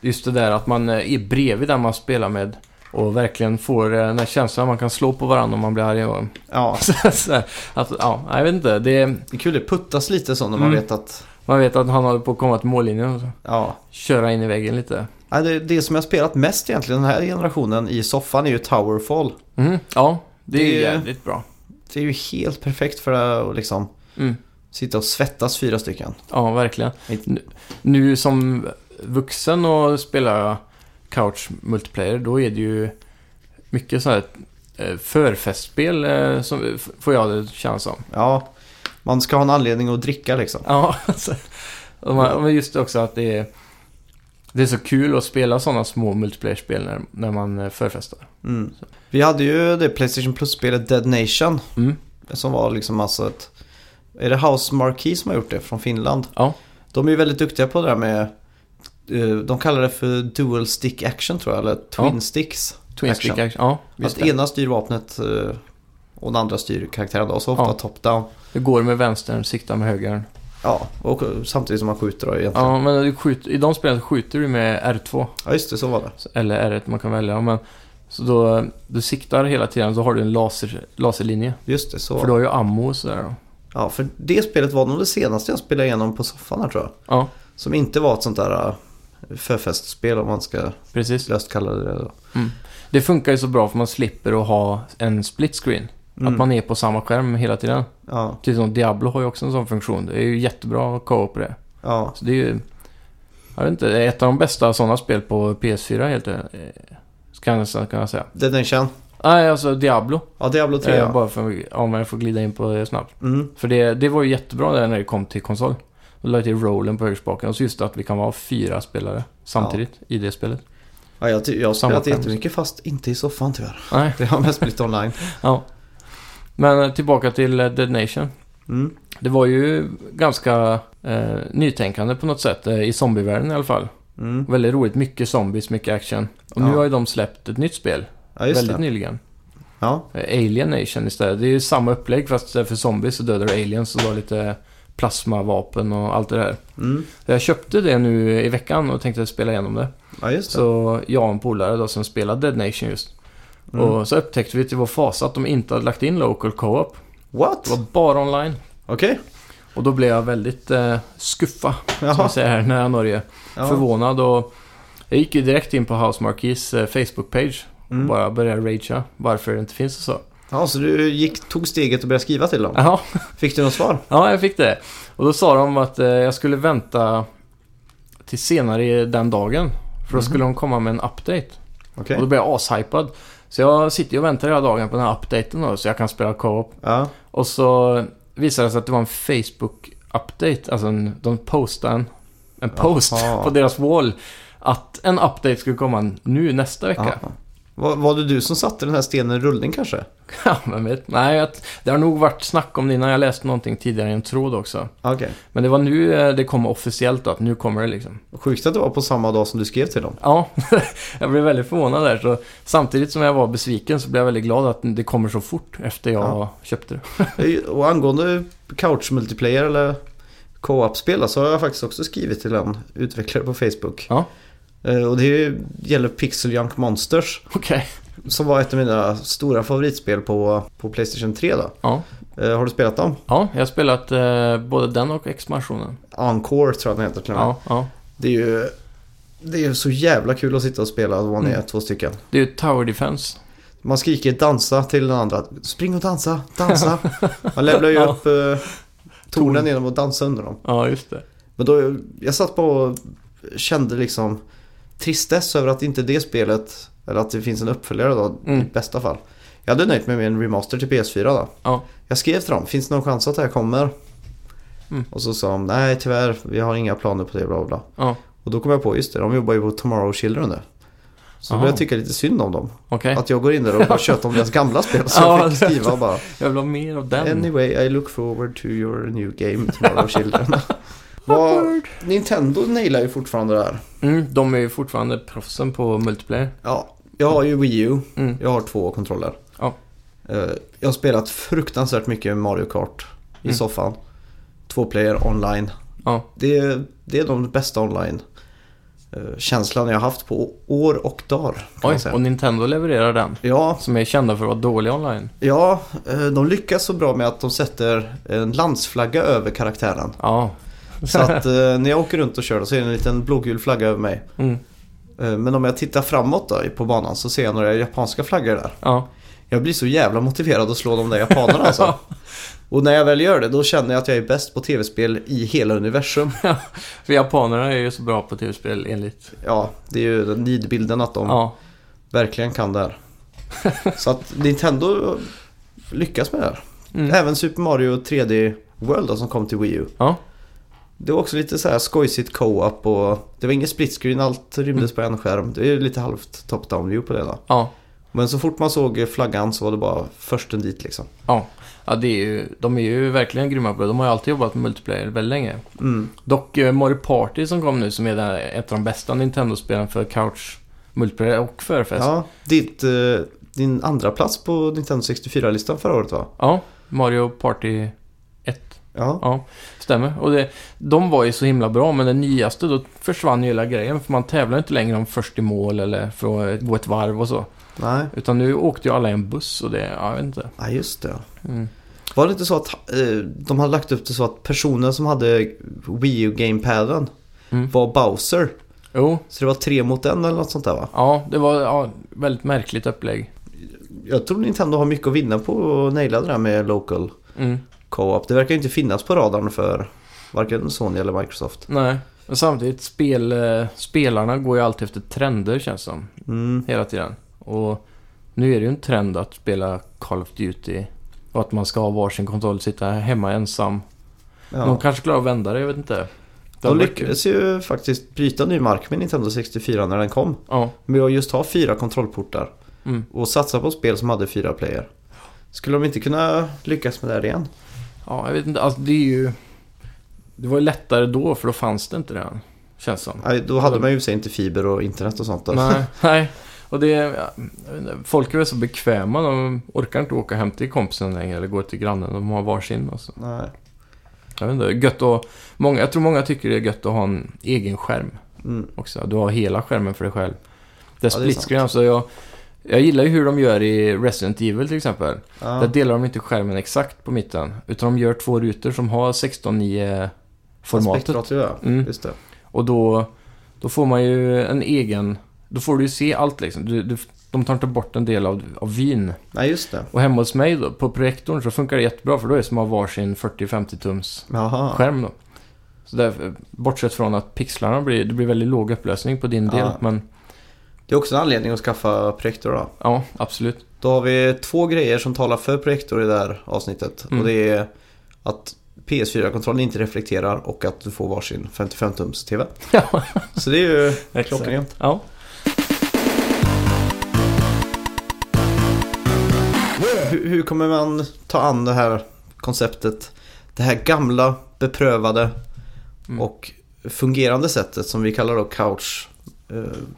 Speaker 3: Just det där att man eh, är bredvid den man spelar med. Och verkligen får eh, den här känslan att man kan slå på varandra om man blir arg. Och...
Speaker 2: Ja,
Speaker 3: Så här, att, ja, jag vet inte. Det är,
Speaker 2: det är kul. Det puttas lite så när man
Speaker 3: Mm.
Speaker 2: vet att...
Speaker 3: man vet att han håller på att komma till mållinjen och så.
Speaker 2: Ja.
Speaker 3: köra in i väggen lite.
Speaker 2: Nej, Det, det som jag har spelat mest egentligen den här generationen i soffan är ju Towerfall.
Speaker 3: Mm, ja, det,
Speaker 2: Det-
Speaker 3: är jävligt bra.
Speaker 2: Det är ju helt perfekt för att liksom
Speaker 3: Mm,
Speaker 2: sitta och svettas fyra stycken.
Speaker 3: ja, verkligen.
Speaker 2: Mitt-
Speaker 3: Nu, nu som vuxen och spelar couch multiplayer, då är det ju mycket så här eh, förfestspel eh, som f- får jag det kännas som.
Speaker 2: Ja, man ska ha en anledning att dricka liksom.
Speaker 3: Ja, alltså. Och man- Men just också att det är, det är så kul att spela sådana små multiplayer-spel när, när man eh, förfestar.
Speaker 2: Mm. Vi hade ju det Playstation Plus-spelet Dead Nation.
Speaker 3: Mm.
Speaker 2: Som var liksom alltså ett... Är det House Marquee som har gjort det från Finland?
Speaker 3: Ja.
Speaker 2: De är ju väldigt duktiga på det där med... eh, De kallar det för dual stick action tror jag, eller twin
Speaker 3: Ja.
Speaker 2: sticks.
Speaker 3: Twin
Speaker 2: Action.
Speaker 3: stick action. Ja,
Speaker 2: Att
Speaker 3: just det.
Speaker 2: ena styr vapnet eh, och den andra styr karaktären då, så ofta
Speaker 3: Ja.
Speaker 2: top-down.
Speaker 3: Det går med vänstern, siktar med högern.
Speaker 2: Ja, och samtidigt som man skjuter då egentligen. Ja,
Speaker 3: Ja, men du skjuter, i de spelen skjuter du med R2.
Speaker 2: ja just det, så var det.
Speaker 3: Eller R1, man kan välja. Men Så då, du siktar hela tiden så har du en laser, laserlinje.
Speaker 2: Just det, så.
Speaker 3: För du har ju ammo och sådär då.
Speaker 2: Ja, för det spelet var nog det senaste jag spelade igenom på soffan här tror jag.
Speaker 3: Ja,
Speaker 2: Som inte var ett sånt där äh, förfestspel om man ska
Speaker 3: precis.
Speaker 2: löst kalla det det. då.
Speaker 3: Det funkar ju så bra för man slipper att ha en split screen.
Speaker 2: Mm.
Speaker 3: Att man är på samma skärm hela tiden.
Speaker 2: Ja,
Speaker 3: Precis som Diablo har ju också en sån funktion. Det är ju jättebra co-op på det.
Speaker 2: ja.
Speaker 3: Så det är ju... Jag vet inte, det är ett av de bästa sådana spel på PS4 helt eh, Ska jag nästan kunna säga.
Speaker 2: Detention.
Speaker 3: Nej, alltså Diablo.
Speaker 2: Ja, Diablo 3
Speaker 3: Eh,
Speaker 2: ja.
Speaker 3: bara för, om jag får glida in på det snabbt.
Speaker 2: Mm.
Speaker 3: För det, det var ju jättebra där när det kom till konsol. Då la jag till rollen på högerspaken och så just att vi kan vara fyra spelare samtidigt i det spelet.
Speaker 2: ja jag, ty- jag har
Speaker 3: Samma
Speaker 2: spelat
Speaker 3: skärm.
Speaker 2: jättemycket fast inte i soffan tyvärr.
Speaker 3: Nej,
Speaker 2: Det har mest blivit online.
Speaker 3: ja. Men eh, tillbaka till eh, Dead Nation.
Speaker 2: Mm.
Speaker 3: Det var ju ganska eh, nytänkande på något sätt eh, i zombievärlden i alla fall.
Speaker 2: Mm.
Speaker 3: Väldigt roligt, mycket zombies, mycket action. Och
Speaker 2: Ja.
Speaker 3: nu har ju de släppt ett nytt spel
Speaker 2: Ja, just
Speaker 3: väldigt
Speaker 2: det.
Speaker 3: nyligen.
Speaker 2: Ja,
Speaker 3: Eh, Alien Nation istället. Det är ju samma upplägg fast istället för zombies så dödar du aliens och du har lite plasmavapen och allt det där.
Speaker 2: mm.
Speaker 3: Jag köpte det nu i veckan och tänkte spela igenom det.
Speaker 2: ja just det.
Speaker 3: Så jag och en polare då som spelade Dead Nation just.
Speaker 2: Mm.
Speaker 3: Och så upptäckte vi till vår fasa att de inte hade lagt in local co-op.
Speaker 2: What?
Speaker 3: Det var bara online.
Speaker 2: Okej.
Speaker 3: Och då blev jag väldigt eh, skuffa, som
Speaker 2: Jaha.
Speaker 3: man säger här när jag Norge.
Speaker 2: Ja.
Speaker 3: Förvånad och jag gick ju direkt in på House Marquis eh, Facebook-page.
Speaker 2: Mm.
Speaker 3: Och bara började ragea varför det inte finns och så.
Speaker 2: Ja, så du gick, tog steget och började skriva till dem?
Speaker 3: Ja,
Speaker 2: Fick du något svar?
Speaker 3: ja, jag fick det. Och då sa de att eh, jag skulle vänta till senare i den dagen.
Speaker 2: Mm.
Speaker 3: För då skulle de komma med en update.
Speaker 2: Okej.
Speaker 3: Och då blev jag ashypad. Så jag sitter ju och väntar hela dagen på den här updaten då, så jag kan spela co-op.
Speaker 2: Ja.
Speaker 3: Och så visade det sig att det var en Facebook-update. Alltså en, de postade en, en post
Speaker 2: Jaha.
Speaker 3: på deras wall. Att en update skulle komma nu nästa vecka.
Speaker 2: Ja. Var, var det du som satte den här stenen i rullning kanske?
Speaker 3: Ja, men vet. Nej, jag, det har nog varit snack om det innan. Jag läste någonting tidigare i en tråd också.
Speaker 2: Okej.
Speaker 3: Men det var nu eh, det kom officiellt då, att nu kommer det liksom.
Speaker 2: Sjukt att det var på samma dag som du skrev till dem.
Speaker 3: Ja, jag blev väldigt förvånad där. Så samtidigt som jag var besviken så blev jag väldigt glad att det kommer så fort efter jag
Speaker 2: Ja.
Speaker 3: köpte det.
Speaker 2: Och angående couch multiplayer eller co-op-spel så har jag faktiskt också skrivit till en utvecklare på Facebook.
Speaker 3: Ja.
Speaker 2: Eh, Och det gäller Pixel Junk Monsters
Speaker 3: Okej.
Speaker 2: som var ett av mina stora favoritspel på, på Playstation 3 då.
Speaker 3: Ja.
Speaker 2: Eh, Har du spelat dem?
Speaker 3: ja, jag har spelat eh, både den och expansionen.
Speaker 2: Encore tror jag den heter till och med.
Speaker 3: Ja, ja.
Speaker 2: Det är ju det är ju så jävla kul att sitta och spela om
Speaker 3: Mm.
Speaker 2: man är två stycken.
Speaker 3: Det är ju Tower Defense.
Speaker 2: Man skriker dansa till den andra. Spring och dansa, dansa. Man levlar ju
Speaker 3: Ja.
Speaker 2: upp eh, tornen genom att dansa under dem.
Speaker 3: Ja, just det.
Speaker 2: Men då, jag satt bara och kände liksom tristess över att inte det spelet, eller att det finns en uppföljare då i
Speaker 3: Mm.
Speaker 2: bästa fall. Jag hade nöjt mig med en remaster till PS4 då.
Speaker 3: Ja.
Speaker 2: Jag skrev till dem, finns det någon chans att det här kommer?
Speaker 3: Mm.
Speaker 2: Och så sa de, nej tyvärr, vi har inga planer på det, bla bla, bla.
Speaker 3: Ja,
Speaker 2: Och då kom jag på, just det, de jobbar ju på Tomorrow Children nu. Så då började jag
Speaker 3: Aha.
Speaker 2: tycka lite synd om dem.
Speaker 3: okej.
Speaker 2: Att jag går in där och bara tjötar om deras gamla spel. Så
Speaker 3: Ja,
Speaker 2: jag fick
Speaker 3: det-
Speaker 2: skriva bara.
Speaker 3: Jag vill ha mer av den.
Speaker 2: Anyway, I look forward to your new game tomorrow children. Vad, Nintendo nailar ju fortfarande det här.
Speaker 3: Mm, de är ju fortfarande proffsen på multiplayer.
Speaker 2: Ja, jag har ju Wii U.
Speaker 3: Mm.
Speaker 2: Jag har två kontroller.
Speaker 3: Ja.
Speaker 2: Eh, Jag har spelat fruktansvärt mycket Mario Kart i
Speaker 3: Mm.
Speaker 2: soffan. Två player online.
Speaker 3: Ja.
Speaker 2: Det, är- det är de bästa online eh, känslan jag har haft på år och dagar. Kan
Speaker 3: Oj,
Speaker 2: man
Speaker 3: och
Speaker 2: säga.
Speaker 3: Nintendo levererar den.
Speaker 2: Ja,
Speaker 3: Som är kända för att vara dåliga online.
Speaker 2: ja, eh, de lyckas så bra med att de sätter en landsflagga över karaktären.
Speaker 3: Ja.
Speaker 2: Så att eh, när jag åker runt och kör då så är det en liten blågul flagga över mig.
Speaker 3: Mm.
Speaker 2: Eh, men om jag tittar framåt då, på banan så ser jag några japanska flaggor där.
Speaker 3: Ja.
Speaker 2: Jag blir så jävla motiverad att slå de där japanerna alltså. Och när jag väl gör det då känner jag att jag är bäst på tv-spel i hela universum.
Speaker 3: För japanerna är ju så bra på tv-spel enligt...
Speaker 2: Ja, det är ju den nidbilden att de
Speaker 3: Ja.
Speaker 2: verkligen kan det här. Så att Nintendo lyckas med det här.
Speaker 3: Mm.
Speaker 2: Även Super Mario 3D World då, som kom till Wii U.
Speaker 3: Ja.
Speaker 2: Det var också lite så här skojsigt co-op och det var ingen split screen, allt rymdes på en skärm. Det är lite halvt top-down view på det då.
Speaker 3: Ja.
Speaker 2: Men så fort man såg flaggan så var det bara försten dit liksom.
Speaker 3: Ja. Ja, det är ju, de är ju verkligen grymma på det. De har ju alltid jobbat med multiplayer väldigt länge.
Speaker 2: Mm.
Speaker 3: Dock eh, Mario Party som kom nu, som är den, ett av de bästa Nintendo-spelen för couch multiplayer och förfest. Ja.
Speaker 2: Ja, ditt, eh, din andra plats på Nintendo 64-listan förra året va?
Speaker 3: Mario Party 1.
Speaker 2: Ja,
Speaker 3: Ja, stämmer. Och det, de var ju så himla bra, men den nyaste, då försvann ju hela grejen. För man tävlar inte längre om först i mål eller för att gå ett varv och så.
Speaker 2: Nej.
Speaker 3: Utan nu åkte ju alla i en buss och det, ja, jag vet inte.
Speaker 2: Nej, just det.
Speaker 3: Mm.
Speaker 2: Var det inte så att eh, de hade lagt upp det så att personen som hade Wii U-gamepaden
Speaker 3: Mm.
Speaker 2: var Bowser?
Speaker 3: Jo,
Speaker 2: Så det var tre mot en eller något sånt där va?
Speaker 3: ja, det var ja, väldigt märkligt upplägg.
Speaker 2: Jag tror Nintendo har mycket att vinna på att naila det där med local
Speaker 3: Mm.
Speaker 2: co-op. Det verkar ju inte finnas på radarn för varken Sony eller Microsoft.
Speaker 3: Nej, men samtidigt spel, eh, spelarna går ju alltid efter trender känns det som.
Speaker 2: Mm.
Speaker 3: Hela tiden. Och nu är det ju en trend att spela Call of Duty. Och att man ska ha varsin kontroll, sitta hemma ensam. De
Speaker 2: Ja.
Speaker 3: kanske klarar att vända det, jag vet inte. Det
Speaker 2: De
Speaker 3: hade varit kul.
Speaker 2: lyckades ju faktiskt bryta ny mark med Nintendo 64 när den kom.
Speaker 3: Ja.
Speaker 2: Med att just ha fyra kontrollportar
Speaker 3: Mm.
Speaker 2: och satsa på spel som hade fyra player. Skulle de inte kunna lyckas med det här igen?
Speaker 3: ja, jag vet inte. Alltså, det är ju... Det var ju lättare då, för då fanns det inte det än. Känns som.
Speaker 2: Nej, då hade man ju i och för sig inte fiber och internet och sånt. Då.
Speaker 3: Nej, nej. Och det, ja, jag vet inte, folk är väl så bekväma, de orkar inte åka hem till kompisen längre eller gå till grannen, de har varsin. Alltså.
Speaker 2: Nej.
Speaker 3: Jag vet inte, gött att, många, jag tror många tycker det är gött att ha en egen skärm
Speaker 2: Mm.
Speaker 3: också. Du har hela skärmen för dig själv. Det är
Speaker 2: sant.
Speaker 3: split screen, alltså jag, jag gillar ju hur de gör i Resident Evil till exempel. Där
Speaker 2: Ja.
Speaker 3: delar de inte skärmen exakt på mitten, utan de gör två rutor som har 16:9 formatet.
Speaker 2: Aspektratio, ja.
Speaker 3: Mm.
Speaker 2: Just det.
Speaker 3: Och då, då får man ju en egen... Då får du ju se allt liksom. Du, du, de tar inte bort en del av, av vyn.
Speaker 2: Nej, just det.
Speaker 3: Och hemma hos mig då, på projektorn så funkar det jättebra för då är det som att ha varsin 40-50 tums
Speaker 2: Jaha.
Speaker 3: skärm då. Så där, bortsett från att pixlarna blir, det blir väldigt låg upplösning på din
Speaker 2: Ja.
Speaker 3: del. Men
Speaker 2: Det är också en anledning att skaffa projektor då.
Speaker 3: ja, absolut.
Speaker 2: Då har vi två grejer som talar för projektor i det här avsnittet.
Speaker 3: Mm.
Speaker 2: Och det är att PS4-kontrollen inte reflekterar och att du får varsin 55-tums TV.
Speaker 3: Ja,
Speaker 2: Så det är ju
Speaker 3: Exakt.
Speaker 2: klockrent.
Speaker 3: ja.
Speaker 2: Hur, hur kommer man ta an det här konceptet? Det här gamla, beprövade
Speaker 3: Mm.
Speaker 2: och fungerande sättet som vi kallar då couch eh,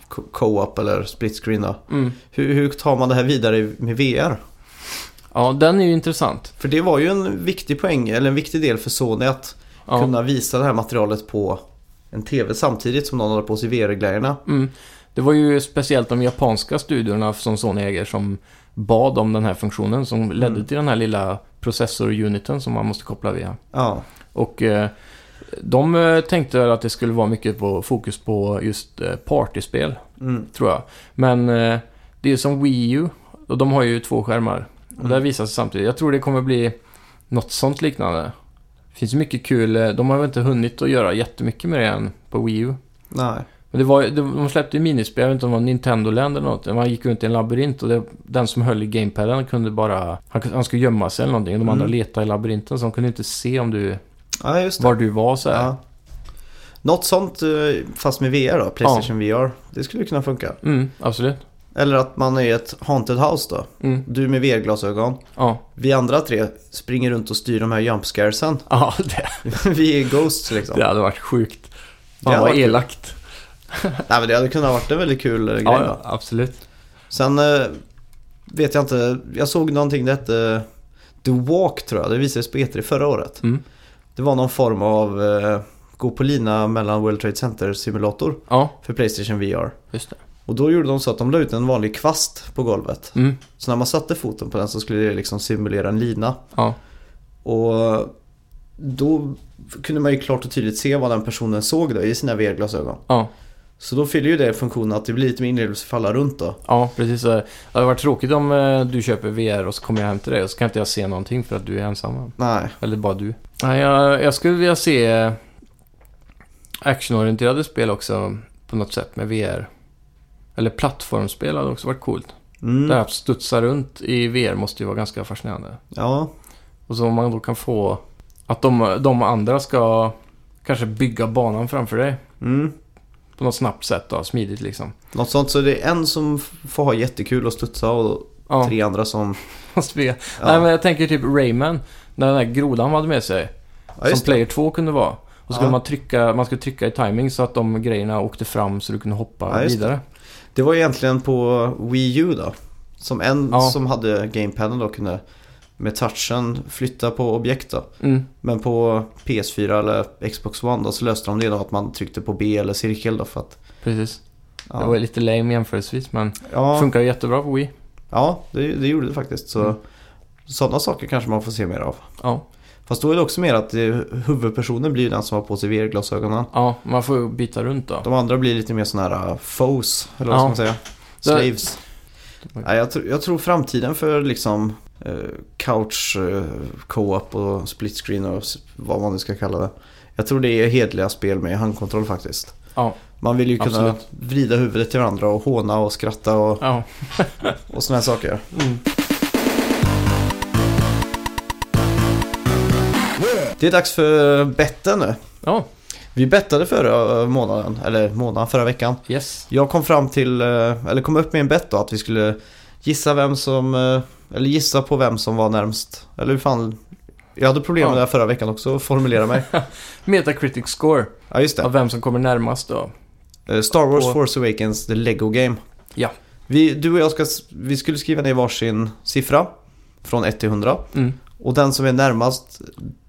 Speaker 2: co- co-op eller split screen. Då.
Speaker 3: Mm.
Speaker 2: Hur, hur tar man det här vidare i- med VR?
Speaker 3: ja, den är ju intressant.
Speaker 2: För det var ju en viktig poäng, eller en viktig del för Sony att
Speaker 3: Ja.
Speaker 2: kunna visa det här materialet på en TV samtidigt som någon håller på sig VR-grejerna.
Speaker 3: Mm. Det var ju speciellt de japanska studiorna som Sony äger som bad om den här funktionen som ledde
Speaker 2: Mm.
Speaker 3: till den här lilla processoruniten som man måste koppla via.
Speaker 2: Ja,
Speaker 3: Och eh, de eh, tänkte väl att det skulle vara mycket på, fokus på just eh, partyspel,
Speaker 2: mm.
Speaker 3: tror jag. Men eh, det är ju som Wii U, och de har ju två skärmar.
Speaker 2: Mm.
Speaker 3: Och där visas det samtidigt. Jag tror det kommer bli något sånt liknande. Det finns mycket kul, eh, de har väl inte hunnit att göra jättemycket med det än på Wii U.
Speaker 2: nej.
Speaker 3: Men det var, det, de släppte ju minispel, jag vet inte om det var Nintendo Land eller något. Man gick runt i en labyrint och det, den som höll i gamepaden kunde bara... Han, han skulle gömma sig eller någonting. De andra
Speaker 2: Mm.
Speaker 3: letade i labyrinten så de kunde inte se om du,
Speaker 2: Ja, just det.
Speaker 3: var du var så här.
Speaker 2: Ja. Något sånt eh, fast med VR då, Playstation VR. Det skulle ju kunna funka.
Speaker 3: Mm, absolut.
Speaker 2: Eller att man är i ett haunted house då.
Speaker 3: Mm,
Speaker 2: Du med VR-glasögon.
Speaker 3: ja.
Speaker 2: Vi andra tre springer runt och styr de här jump scaresen.
Speaker 3: Ja, det,
Speaker 2: Vi är ghosts liksom.
Speaker 3: det hade varit sjukt.
Speaker 2: Det hade
Speaker 3: Fan vad
Speaker 2: varit-
Speaker 3: elakt.
Speaker 2: Nej, men det hade kunnat varit en väldigt kul eh, grej.
Speaker 3: Ja,
Speaker 2: då.
Speaker 3: ja, absolut.
Speaker 2: Sen eh, vet jag inte, jag såg någonting det hette The Walk tror jag, det visades på E3 förra året.
Speaker 3: Mm.
Speaker 2: Det var någon form av eh, gå på lina mellan World Trade Center simulator
Speaker 3: Ja,
Speaker 2: för Playstation VR.
Speaker 3: just det.
Speaker 2: Och då gjorde de så att de la ut en vanlig kvast på golvet.
Speaker 3: Mm,
Speaker 2: Så när man satte foten på den så skulle det liksom simulera en lina.
Speaker 3: ja.
Speaker 2: Och då kunde man ju klart och tydligt se vad den personen såg då i sina VR-glasögon.
Speaker 3: Ja,
Speaker 2: Så då fyller ju det funktionen att det blir lite mer inlevelse för alla runt då.
Speaker 3: ja, precis. så här. Det hade varit tråkigt om eh, du köper VR och så kommer jag hem till dig och så kan inte jag se någonting för att du är ensam.
Speaker 2: Nej,
Speaker 3: Eller bara du. Nej, jag, jag skulle vilja se eh, actionorienterade spel också på något sätt med VR. Eller plattformsspel hade också varit coolt.
Speaker 2: mm.
Speaker 3: Det här att studsa runt i VR måste ju vara ganska fascinerande.
Speaker 2: ja,
Speaker 3: Och så om man då kan få att de, de andra ska kanske bygga banan framför dig
Speaker 2: mm.
Speaker 3: på något snabbt sätt då, smidigt liksom.
Speaker 2: Något sånt, så det är en som f- får ha jättekul och studsa och
Speaker 3: Ja,
Speaker 2: tre andra som...
Speaker 3: måste vi. Nej
Speaker 2: Ja,
Speaker 3: men jag tänker typ Rayman, när den där grodan hade med sig,
Speaker 2: ja
Speaker 3: som
Speaker 2: just det.
Speaker 3: Player 2 kunde vara. Och så skulle
Speaker 2: Ja.
Speaker 3: man trycka, man skulle trycka i timing så att de grejerna åkte fram så du kunde hoppa
Speaker 2: Ja, just det.
Speaker 3: vidare.
Speaker 2: Det var egentligen på Wii U då. Som en
Speaker 3: Ja.
Speaker 2: som hade gamepaden då kunde med touchen flytta på objekt då.
Speaker 3: Mm.
Speaker 2: Men på PS4 eller Xbox One då så löste de det då att man tryckte på B eller cirkel då för att
Speaker 3: Precis.
Speaker 2: Ja.
Speaker 3: Det var lite lame jämförelsevis men
Speaker 2: Ja,
Speaker 3: funkar ju jättebra på Wii.
Speaker 2: ja det, det gjorde det faktiskt. Så,
Speaker 3: Mm.
Speaker 2: Sådana saker kanske man får se mer av.
Speaker 3: Ja.
Speaker 2: Fast då är det också mer att eh, huvudpersonen blir den som har på sig VR-glasögonen.
Speaker 3: ja, man får ju byta runt då.
Speaker 2: De andra blir lite mer sådana här uh, foes, eller vad
Speaker 3: Ja.
Speaker 2: ska man säga?
Speaker 3: Så-
Speaker 2: Slaves. Nej, jag, tr- jag tror framtiden för liksom eh, couch, eh, co-op och split screen och s- vad man nu ska kalla det. Jag tror det är hedliga spel med handkontroll faktiskt.
Speaker 3: Ja.
Speaker 2: Man vill ju kunna
Speaker 3: Absolut.
Speaker 2: vrida huvudet till varandra och håna och skratta och,
Speaker 3: Ja.
Speaker 2: och sådana här saker.
Speaker 3: Mm.
Speaker 2: Det är dags för betten nu.
Speaker 3: Ja,
Speaker 2: Vi bettade förra eh, månaden, eller månaden, förra veckan.
Speaker 3: yes.
Speaker 2: Jag kom fram till, eh, eller kom upp med en bett då, att vi skulle gissa vem som, eh, eller gissa på vem som var närmst. Eller hur fan, jag hade problem med
Speaker 3: Ja.
Speaker 2: det här förra veckan också, att formulera mig.
Speaker 3: Metacritic score
Speaker 2: Ja just det.
Speaker 3: av vem som kommer närmast då.
Speaker 2: Eh, Star Wars
Speaker 3: på-
Speaker 2: Force Awakens, The Lego Game.
Speaker 3: Ja.
Speaker 2: Vi, du och jag ska, s- vi skulle skriva ner varsin siffra, från 1 till 100.
Speaker 3: Mm.
Speaker 2: Och den som är närmast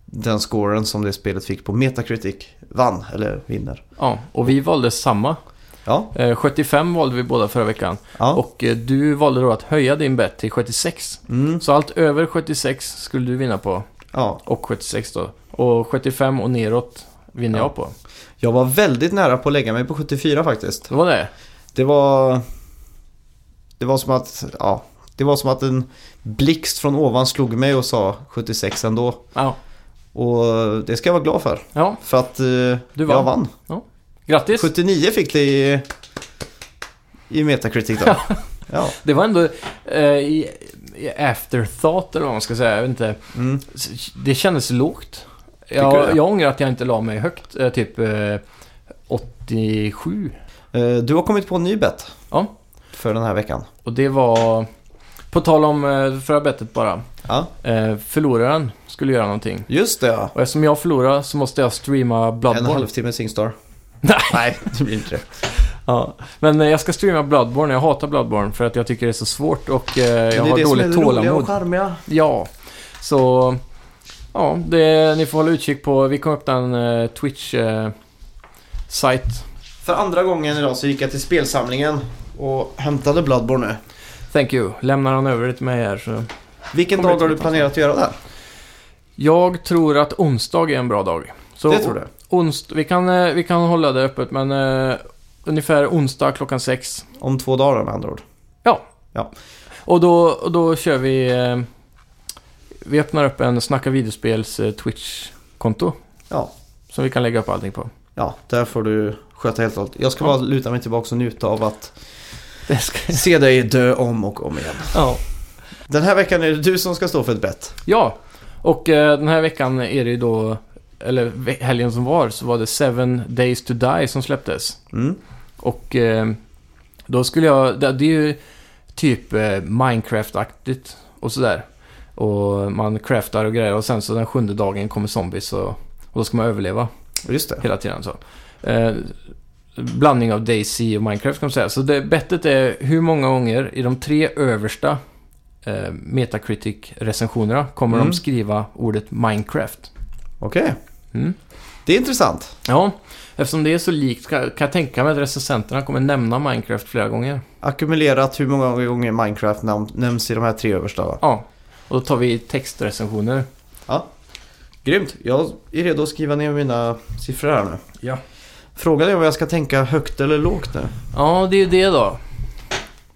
Speaker 2: den scoren som det spelet fick på Metacritic vann, eller vinner.
Speaker 3: Ja, och vi valde samma.
Speaker 2: Ja,
Speaker 3: Eh, 75 valde vi båda förra veckan.
Speaker 2: ja.
Speaker 3: Och eh, du valde då att höja din bet till 76.
Speaker 2: Mm,
Speaker 3: Så allt över 76 skulle du vinna på.
Speaker 2: ja.
Speaker 3: Och 76 då. Och 75 och neråt vinner
Speaker 2: Ja.
Speaker 3: jag på.
Speaker 2: Jag var väldigt nära på att lägga mig på 74 faktiskt.
Speaker 3: Det var det?
Speaker 2: Det var... Det var som att, ja. Det var som att en blixt från ovan slog mig och sa 76 ändå.
Speaker 3: Ja.
Speaker 2: Och det ska jag vara glad för.
Speaker 3: ja.
Speaker 2: För att eh,
Speaker 3: Du vann.
Speaker 2: jag vann.
Speaker 3: Grattis!
Speaker 2: 79 fick det i, i Metacritic då. ja.
Speaker 3: Det var ändå eh, i, i afterthought eller vad man ska säga. Jag vet inte.
Speaker 2: Mm.
Speaker 3: S- Det kändes lågt.
Speaker 2: du det?
Speaker 3: Jag, jag ångrar att jag inte la mig högt. Eh, typ eh, 87.
Speaker 2: Eh, du har kommit på en ny bet.
Speaker 3: Ja.
Speaker 2: För den här veckan.
Speaker 3: Och det var... På tal om eh, förra bettet bara.
Speaker 2: Ja,
Speaker 3: Eh, förloraren skulle göra någonting.
Speaker 2: just det ja.
Speaker 3: Och eftersom jag förlorar så måste jag streama
Speaker 2: En
Speaker 3: Bloodborne.
Speaker 2: halvtimme Singstar.
Speaker 3: Nej.
Speaker 2: Nej, det blir inte det.
Speaker 3: Ja. Men eh, jag ska streama Bloodborne. Jag hatar Bloodborne för att jag tycker det är så svårt och eh, jag
Speaker 2: det är
Speaker 3: har
Speaker 2: det som är
Speaker 3: dåligt
Speaker 2: det roliga och
Speaker 3: tålamod.
Speaker 2: charmiga.
Speaker 3: Ja, så... Ja, det, ni får hålla utkik på... Vi kommer öppna en eh, Twitch-sajt.
Speaker 2: För andra gången idag så gick jag till spelsamlingen och hämtade Bloodborne nu.
Speaker 3: Thank you. Lämnar han över det till mig här så...
Speaker 2: Vilken
Speaker 3: Kommer
Speaker 2: dag har
Speaker 3: inte
Speaker 2: du
Speaker 3: ta
Speaker 2: planerat att göra det här?
Speaker 3: Jag tror att onsdag är en bra dag. Så
Speaker 2: det tror du?
Speaker 3: Onst, vi, kan, eh, vi kan hålla det öppet men eh, ungefär onsdag klockan sex.
Speaker 2: Om två dagar med andra ord.
Speaker 3: Och då, och då kör vi... Eh, vi öppnar upp en Snacka videospels eh, Twitch-konto.
Speaker 2: Ja.
Speaker 3: Som vi kan lägga upp allting på.
Speaker 2: Ja, där får du sköta helt och hållet. Jag ska
Speaker 3: Ja.
Speaker 2: bara luta mig tillbaka och njuta av att
Speaker 3: Det ska...
Speaker 2: se dig dö om och om igen.
Speaker 3: ja.
Speaker 2: Den här veckan är det du som ska stå för ett bett.
Speaker 3: ja, och eh, den här veckan är det ju då... Eller ve- helgen som var så var det Seven Days to Die som släpptes.
Speaker 2: Mm.
Speaker 3: Och eh, då skulle jag... Det, det är ju typ eh, Minecraft-aktigt och sådär. Och man craftar och grejer och sen så den sjunde dagen kommer zombies och, och då ska man överleva.
Speaker 2: Just det.
Speaker 3: hela tiden. Så. Eh, blandning av DayZ och Minecraft kan man säga. Så det, bettet är hur många gånger i de tre översta eh, Metacritic-recensionerna kommer
Speaker 2: Mm.
Speaker 3: de skriva ordet Minecraft.
Speaker 2: Okej.
Speaker 3: Mm.
Speaker 2: Det är intressant.
Speaker 3: Ja, eftersom det är så likt kan, kan jag tänka mig att recensenterna kommer nämna Minecraft flera gånger.
Speaker 2: Ackumulerat hur många gånger Minecraft nam- nämns i de här tre översta va?
Speaker 3: Ja, och då tar vi textrecensioner.
Speaker 2: Grymt. Jag är redo att skriva ner mina siffror här nu.
Speaker 3: Ja.
Speaker 2: Frågan är om jag ska tänka högt eller lågt nu.
Speaker 3: Ja, det är ju det då.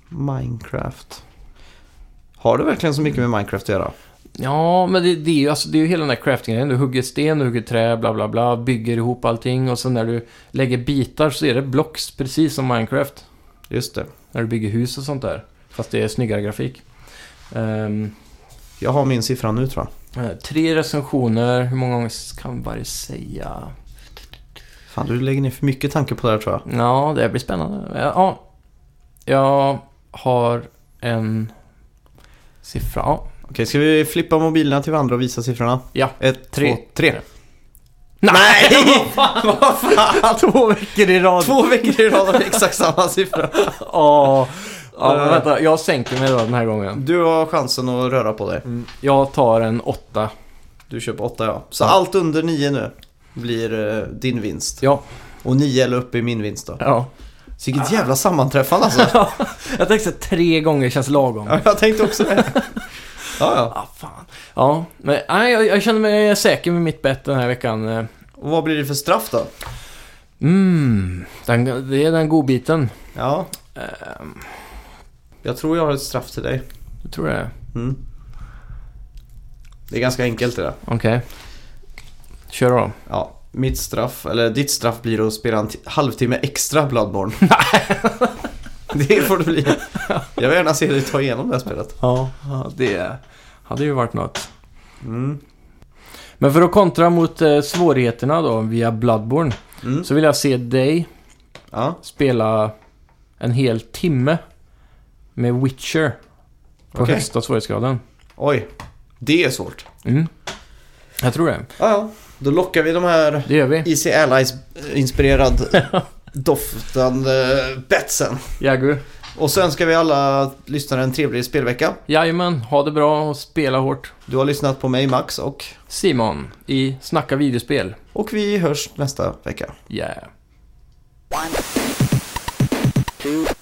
Speaker 2: Minecraft. Har det verkligen så mycket med Minecraft att göra?
Speaker 3: Ja, men det, det, är, ju, alltså, det är ju hela den där crafting-grejen. Du hugger sten, du hugger trä, bla bla bla, bygger ihop allting och sen när du lägger bitar så är det blocks, precis som Minecraft.
Speaker 2: Just det.
Speaker 3: När du bygger hus och sånt där. Fast det är snyggare grafik. Ehm,
Speaker 2: Jag har min siffra nu tror jag.
Speaker 3: eh, tre recensioner, hur många gånger kan varje säga?
Speaker 2: Fan, du lägger ner för mycket tanke på det här tror jag.
Speaker 3: Ja, det här blir spännande. Ja, jag har en siffra. Ja.
Speaker 2: Okej, ska vi flippa mobilerna till varandra och visa siffrorna?
Speaker 3: Ja.
Speaker 2: Ett,
Speaker 3: Tre.
Speaker 2: två, tre.
Speaker 3: Nej!
Speaker 2: Vad fan!
Speaker 3: Två veckor i rad!
Speaker 2: Två veckor i rad har vi exakt samma siffra.
Speaker 3: Åh. Ja,
Speaker 2: Eh.
Speaker 3: men vänta, jag sänker mig då den här gången.
Speaker 2: Du har chansen att röra på dig.
Speaker 3: Mm, Jag tar en åtta.
Speaker 2: Du köper åtta ja. Så allt under nio nu blir eh, din vinst.
Speaker 3: Ja.
Speaker 2: Och nio eller upp i min vinst då.
Speaker 3: ja.
Speaker 2: Så vilket jävla sammanträffande alltså.
Speaker 3: Jag tänkte att tre gånger känns lagom.
Speaker 2: Ja, jag tänkte också det. Ja, ja.
Speaker 3: Ah, fan. Ja, men nej, jag, jag känner mig säker med mitt bett den här veckan. eh.
Speaker 2: Och vad blir det för straff då?
Speaker 3: Mm, den, det är den godbiten.
Speaker 2: Ja,
Speaker 3: Ehm,
Speaker 2: jag tror jag har ett straff till dig.
Speaker 3: jag tror det. är.
Speaker 2: Mm. Det är ganska enkelt det där.
Speaker 3: Okej. Kör då.
Speaker 2: Ja, mitt straff, eller ditt straff blir att spela en t- halvtimme extra Bloodborne. det får det bli. Jag vill gärna se dig ta igenom det här spelet.
Speaker 3: Ja, det hade ju varit något.
Speaker 2: Mm.
Speaker 3: Men för att kontra mot eh, svårigheterna då via Bloodborne
Speaker 2: Mm.
Speaker 3: så vill jag se dig
Speaker 2: Ja,
Speaker 3: spela en hel timme med Witcher på
Speaker 2: Okej.
Speaker 3: högsta svårighetsgraden.
Speaker 2: oj. Det är svårt.
Speaker 3: Mm. Jag tror det.
Speaker 2: Ja, ja. Då lockar vi de här
Speaker 3: Det gör vi.
Speaker 2: Easy Allies-inspirerad doftande betsen.
Speaker 3: Jagu.
Speaker 2: Och så önskar vi alla lyssnare en trevlig spelvecka.
Speaker 3: Jajamän, ha det bra och spela hårt.
Speaker 2: Du har lyssnat på mig, Max, och,
Speaker 3: Simon i Snacka videospel.
Speaker 2: och vi hörs nästa vecka.
Speaker 3: Yeah.
Speaker 1: One, two,